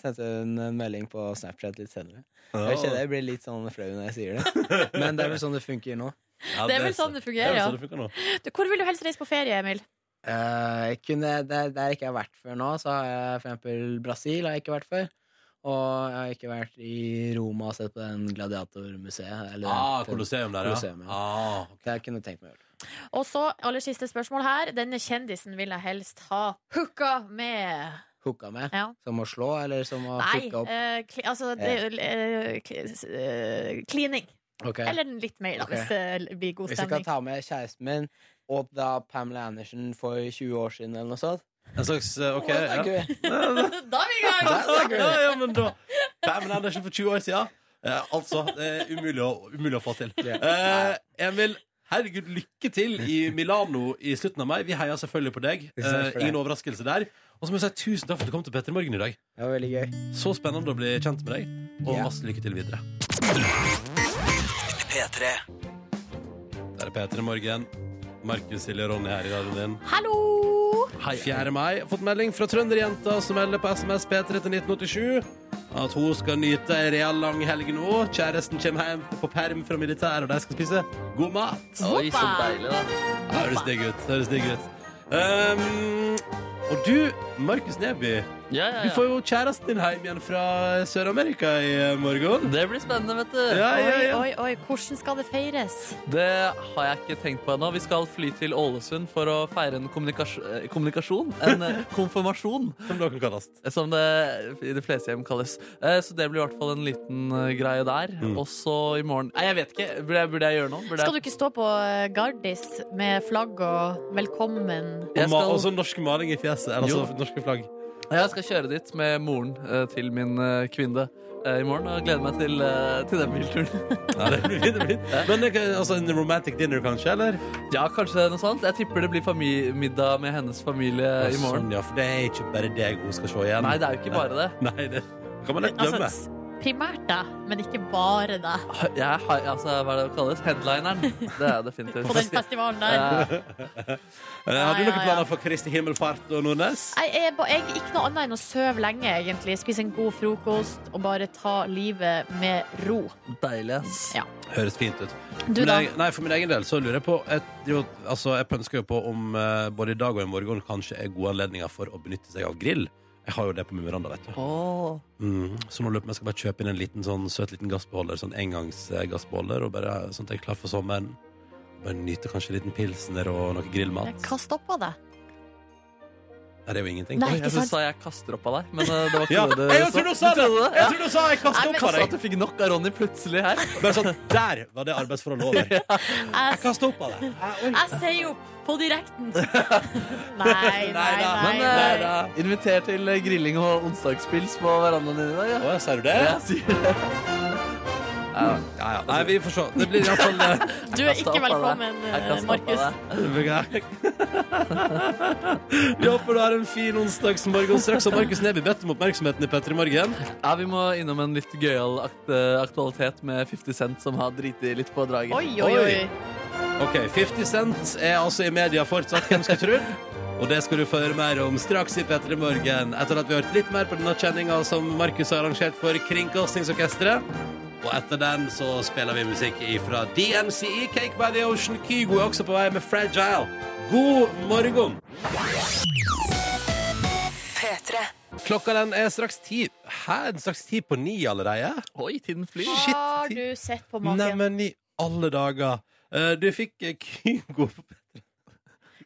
sendte hun en melding på Snapchat litt senere. Jeg kjenner jeg blir litt sånn flau når jeg sier det, men det er vel sånn det funker nå.
det er vel sånn det fungerer, ja. Du, hvor vil du helst reise på ferie, Emil?
Eh, jeg kunne, der, der ikke jeg har vært før nå, så har jeg for eksempel Brasil har jeg ikke vært før. Og jeg har ikke vært i Roma og sett på den gladiatormuseet. eller
Ah,
den-
Colosseum der, ja. Ah.
Colosseum, Det jeg kunne tenkt meg å gjøre.
Og så aller siste spørsmål her. Denne kjendisen vil jeg helst ha hooka med.
hooka med?
Ja.
Som å slå, eller som å
Nei,
hooke opp?
eh, kli, altså det, eh, kli, eh, Klining.
Ok.
Eller litt mer, da,
Ok.
hvis eh, det blir god
Hvis jeg kan
stemning.
ta med kjæresten min og da Pamela Andersen for 20 år siden, eller noe sånt.
En slags eh, OK,
det er
ja.
gøy.
Da er vi i
Ja,
gang!
ja, men da Pamela Andersen for 20 år siden. Eh, altså, det er umulig å, umulig å få til. Eh, Emil, herregud, lykke til i Milano i slutten av mai. Vi heier selvfølgelig på deg.
Tusen takk for
Eh,
det.
ingen overraskelse der. Og så må jeg si tusen takk for at du kom til Petter i Morgen i dag.
Det var veldig gøy.
Så spennende å bli kjent med deg, og
Ja.
masse lykke til videre.
P3.
Der er Petter i Morgen. Markus, Silje og Ronny her i radioen din.
Hallo!
Hei, 4. mai. Fått melding fra trønderjenta som melder på SMS P3 til 1987 at hun skal nyte ei real lang helg nå. Kjæresten kommer hjem på perm fra militæret, og de skal spise god mat.
Oi, så deilig, da.
Ja, Høres digg ut. Høres digg ut. Um, og du, Markus Neby,
ja,
du
ja.
får jo kjæresten din hjem igjen fra Sør-Amerika i morgen.
Det blir spennende, vet du.
Ja, ja, ja.
Oi, oi, oi, hvordan skal det feires?
Det har jeg ikke tenkt på ennå. Vi skal fly til Ålesund for å feire en kommunikasjon, eh, kommunikasjon en eh, konfirmasjon.
Som dere kalles.
Som det i de fleste hjem kalles. Eh, Så det blir i hvert fall en liten eh, greie der.
Mm.
Og så i morgen Nei, jeg vet ikke. Burde jeg, burde jeg gjøre noe? Burde
Skal du
jeg...
ikke stå på eh, Gardis med flagg og 'velkommen'?
Og ma- også norsk maling i fjeset. Eller altså norske flagg.
Jeg skal kjøre dit med moren eh, til min eh, kvinne eh, i morgen og gleder meg til, eh, til den bilturen.
Ja, det blir, det blir. Men det kan- altså, en romantic dinner, kanskje? eller?
Ja, kanskje noe sånt. Jeg tipper det blir fami- middag med hennes familie
Å,
Eh, i morgen.
Sånn, ja, for det er ikke bare deg hun skal se igjen.
Nei, det er jo ikke bare det.
Nei, det kan man lett
Altså,
glemme.
s- primært deg, men ikke bare deg.
Jeg har, altså, hva er det det kalles? Headlineren. Det er definitivt.
På den festivalen der.
Eh, har du
Ja,
noen
ja, ja.
planer for Kristi himmelfart og Nordnes?
Nei, Jeg, er ba- jeg, ikke noe annet enn å søve lenge, egentlig. Spise en god frokost og bare ta livet med ro.
Deilig, ass.
Ja.
Høres fint ut.
Du
Men
da?
jeg, nei, For min egen del så lurer jeg på Jeg, jo, altså, jeg pønsker jo på om eh, både i dag og i morgen kanskje er gode anledninger for å benytte seg av grill. Jeg har jo det på min veranda, vet du.
Åh.
Mm. Så nå lurer jeg på om jeg skal bare kjøpe inn en liten sånn søt liten gassbeholder, sånn engangsgassbeholder, og bare sånn at jeg er klar for sommeren. Bare nyte kanskje en liten pilsner og noe grillmat.
Hva stoppa deg?
Nei, det er jo ingenting.
Nei,
Oi,
ikke
jeg
sant?
synes da jeg kaster opp av deg, men eh, det var ikke
Ja,
det du
jeg trodde du sa det. Jeg trodde du sa jeg
kaster
kaster opp av deg.
At du fikk nok av Ronny plutselig her.
Bare sånn, Der var det arbeidsforholdet over.
Jeg
kaster opp av deg.
Jeg sier jo på direkten. Nei, nei, nei.
Men
nei,
eh, inviter til eh, grilling og onsdagspils på verandaen din i dag.
Å, Ser du det?
Ja, jeg sier det. Ja,
ja, ja. Nei, vi får se. Det blir iallfall
eh,
Du er ikke velkommen, eh, Markus.
Vi håper du har en fin onsdagsmorgen straks. Og Markus Neby bedt om oppmerksomheten i Petter i morgen.
Ja, Vi må innom en litt gøyal akt eh, aktualitet med 50 Cent, som har driti litt på draget.
Oi, oi, oi.
OK, 50 Cent er altså i media fortsatt, hvem skal tro? Og det skal du få høre mer om straks i Petter i morgen, etter at vi har hørt litt mer på denne kjenninga som Markus har arrangert for Kringkastingsorkesteret. Og etter den så spiller vi musikk fra DMCE, E, Cake by the Ocean. Kygo er også på vei med Fragile. God morgen!
P3.
Klokka den er straks ti. Hæ, den er straks ti på ni allerede?
Oi, tiden flyr.
Har du sett på maken?
Neimen, i alle dager. Eh, Du fikk eh, Kygo på P3.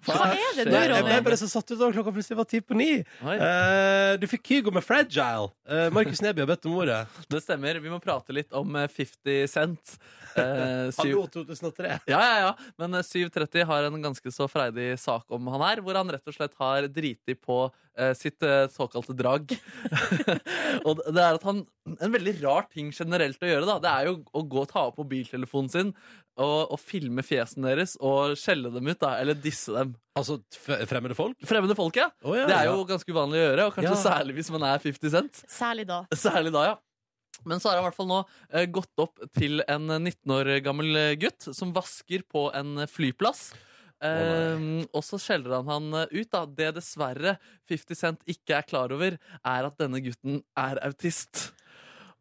Hva er det nå,
Nei, Jeg ble
Ronny?
bare så satt ut av at klokka plutselig var ti på ni.
Oi.
Eh, du fikk Kygo med Fragile. Eh, Markus Neby har bedt om ordet.
Det stemmer. Vi må prate litt om eh, 50 Cent. Eh,
Hallo,
syv-
2003.
Ja, ja, ja. Men eh, 730 har en ganske så freidig sak om han her, hvor han rett og slett har driti på eh, sitt eh, såkalte drag. og det er at han En veldig rar ting generelt å gjøre, da. Det er jo å gå og ta opp mobiltelefonen sin og, og filme fjesen deres og skjelle dem ut, da. Eller disse dem.
Altså f- fremmede folk?
Fremmede folk, ja.
Å, ja,
Det er
ja.
jo ganske uvanlig å gjøre, og kanskje
Ja.
særlig hvis man er 50 Cent.
Særlig da.
Særlig da, ja. Men så har han i hvert fall nå eh, gått opp til en 19 år gammel eh, gutt som vasker på en eh, flyplass. Eh, og så skjeller han han eh, ut. da Det dessverre 50 Cent ikke er klar over, er at denne gutten er autist.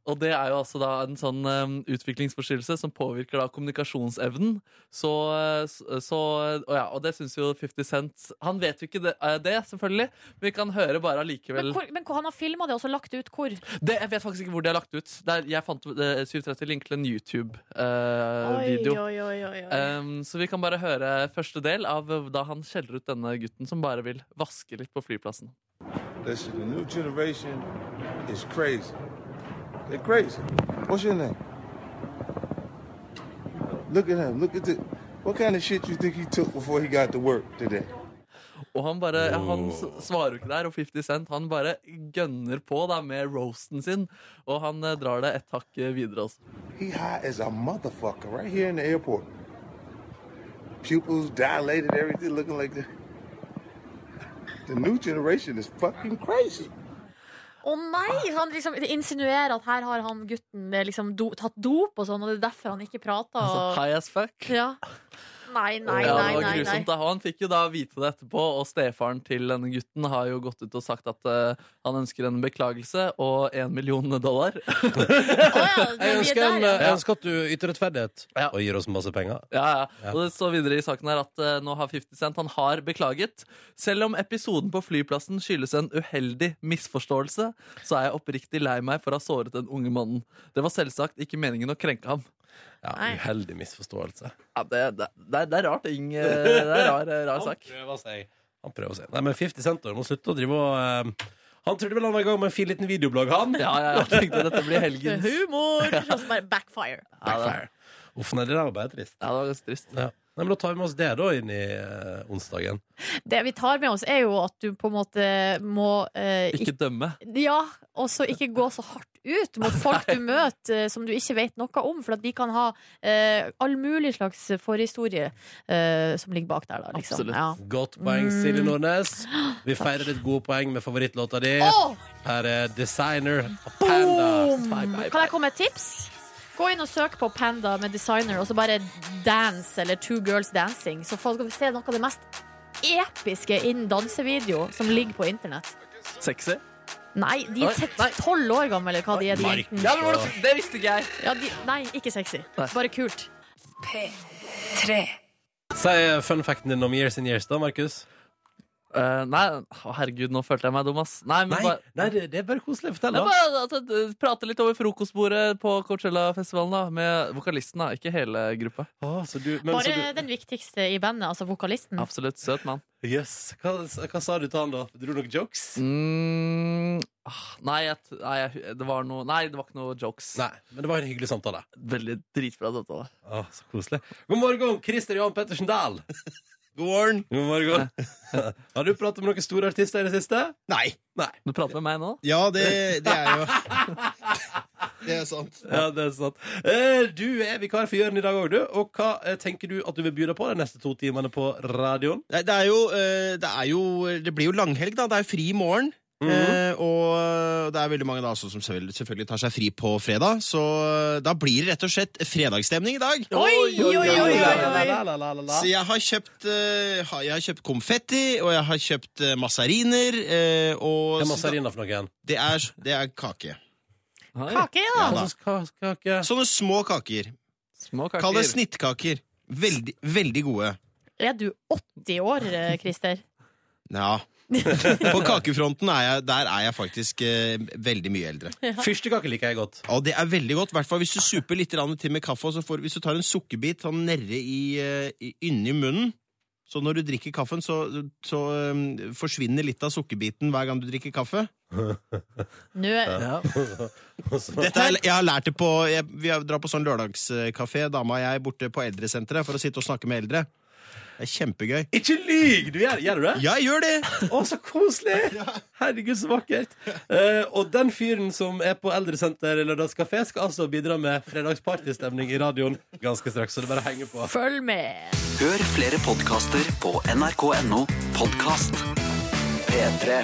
Og det er jo altså da en sånn eh, utviklingsforstyrrelse som påvirker da kommunikasjonsevnen. Så, eh, s- så og, ja, og det syns jo 50 Cent Han vet jo ikke det, eh, det selvfølgelig, men vi kan høre bare allikevel.
Men, hvor, men hvor han har filma det og så lagt ut hvor?
Det, jeg vet faktisk ikke hvor de har lagt ut. Det er- jeg fant eh, 730 link til en
Oi,
YouTube-video.
oi, oi, oi, oi.
Um, så vi kan bare eh, høre første del av da han skjeller ut denne gutten som bare vil vaske litt på flyplassen.
Listen, the new generation is crazy. They're crazy. What's your name? Look at him. Look at the. What kind of shit you think he took before he got to work today?
Og han bare, han s- svarer jo ikke der, og 50 Cent han bare gønner på da med roasten sin. Og han eh, drar det et hakk eh, videre. Altså.
He high as a motherfucker right here in the airport. Pupils dilated, everything looking like the. The new generation is fucking crazy.
Å nei! Han liksom insinuerer at her har han gutten eh, liksom do, tatt dop og sånn, og det er derfor han ikke prater.
Altså,
Og...
high as fuck.
Ja. Nei, nei,
ja, det
nei.
var
nei, nei.
grusomt. Da. Han fikk jo da vite det etterpå, og stefaren til denne gutten har jo gått ut og sagt at eh, han ønsker en beklagelse og én million dollar.
Jeg ønsker, en, eh,
ja.
jeg ønsker at du yter rettferdighet og gir oss masse penger.
Ja, ja. Og det står videre i saken her at eh, nå har 50 Cent han har beklaget. Selv om episoden på flyplassen skyldes en uheldig misforståelse, så er jeg oppriktig lei meg for å ha såret den unge mannen. Det var selvsagt ikke meningen å krenke ham.
Ja, Uheldig misforståelse.
Ja, det, det, det, er- det er rart, Ing. eh, Det er en rar, eh, rar
Han
sak.
prøver seg. Han prøver seg. Nei, men 50 Cent da, må slutte å drive og eh, Han trodde vel han var i gang med en fin liten videoblogg, han.
Ja, ja, jeg tenkte dette blir helgens.
Humor! Og så bare backfire.
Backfire. Uff, nei, det der var bare trist.
Ja, det var ganske trist.
Nei, men da tar vi med oss det da inn i eh, onsdagen.
Det vi tar med oss, er jo at du på en måte må eh,
Ikke dømme.
Ja, og så ikke gå så hardt ut mot folk du møter eh, som du ikke vet noe om, for at de kan ha eh, all mulig slags forhistorie eh, som ligger bak der, da. Liksom.
Absolutt.
Ja.
Godt poeng,
Mm.
Silje Nordnes. Vi feirer ditt gode poeng med favorittlåta di.
Åh!
Her er Designer av
Boom!
Panda.
Kan jeg komme med et tips? Gå inn og søk på Panda med designer, og så bare dance eller Two Girls Dancing. Så får dere se noe av det mest episke innen dansevideo som ligger på internett.
Sexy.
Nei, de
Oi,
er te- tolv år gamle, eller hva de er. De
Markus.
jentene.
Ja, men hvordan- det visste ikke jeg.
Ja, de, nei, ikke sexy. Bare kult.
P3
Si eh, fun facten din om Years and Years, da, Markus.
Eh, nei, å, herregud, nå følte jeg meg dum, ass. Nei, men
Nei,
bare
nei, det, det er bare koselig. Fortell,
Det er
da.
bare at jeg prater litt over frokostbordet på Coachella-festivalen, da. Med vokalisten, da. Ikke hele gruppa.
Bare den viktigste i bandet, altså vokalisten.
Absolutt søt mann.
Yes. Hva, hva sa du til han, da? Dro dere jokes?
Mm, ah, nei, jeg, t- nei, jeg, det var noe Nei, det var ikke noe jokes.
Nei, Men det var en hyggelig samtale.
Veldig dritbra samtale.
Å, så koselig. God morgen, Christer Johan Pettersen Dahl. God morgen. God morgen. Har du pratet med noen store artister i det siste?
Nei.
Du prater med meg nå?
Ja, det, det er jo Det er sant.
Ja, det er sant. Eh, Du er vikar for Jørn i dag òg, du. Og hva eh, tenker du at du vil by deg på de neste to timene på radioen?
Nei, Det er jo, eh, det er jo Det blir jo langhelg, da. Det er fri i morgen. Eh, og det er veldig mange da også som selv- selvfølgelig tar seg fri på fredag, så eh, da blir det rett og slett fredagsstemning i dag.
Oi, oi, oi, oi, oi.
Så jeg har kjøpt, eh, ha- jeg har kjøpt konfetti, og jeg har kjøpt eh, mazariner. eh, og,
Hva er mazariner for noe igjen?
Det er, det er kake.
Kake, ja.
da.
Altså,
Sånne små kaker. Kall det snittkaker. Veldig, veldig gode.
Er du 80 år, eh, Christer?
Ja. På kakefronten er jeg, der er jeg faktisk eh, veldig mye eldre.
Ja.
Fyrstekake liker jeg godt.
Ja, det er veldig godt, hvertfall hvis du super litt grann til med kaffe. Og så får, hvis du tar en sukkerbit sånn nede i, eh, i, inni munnen Så når du drikker kaffen, så, så eh, forsvinner litt av sukkerbiten hver gang du drikker kaffe.
Nå er
Dette er, jeg har lært det på jeg, Vi drar på sånn lørdagskafé, dama og jeg, borte på eldresenteret for å sitte og snakke med eldre. Det er kjempegøy.
Ikke lyg! Du gjør, gjør du det?
Ja, jeg gjør det!
Å, så koselig! Herregud, så vakkert. Eh, og den fyren som er på Eldresenter Lørdagskafé, skal altså bidra med fredagspartystemning i radioen ganske straks. Så det bare henger på.
Følg med!
Hør flere podkaster på nrk.no podkast. P3.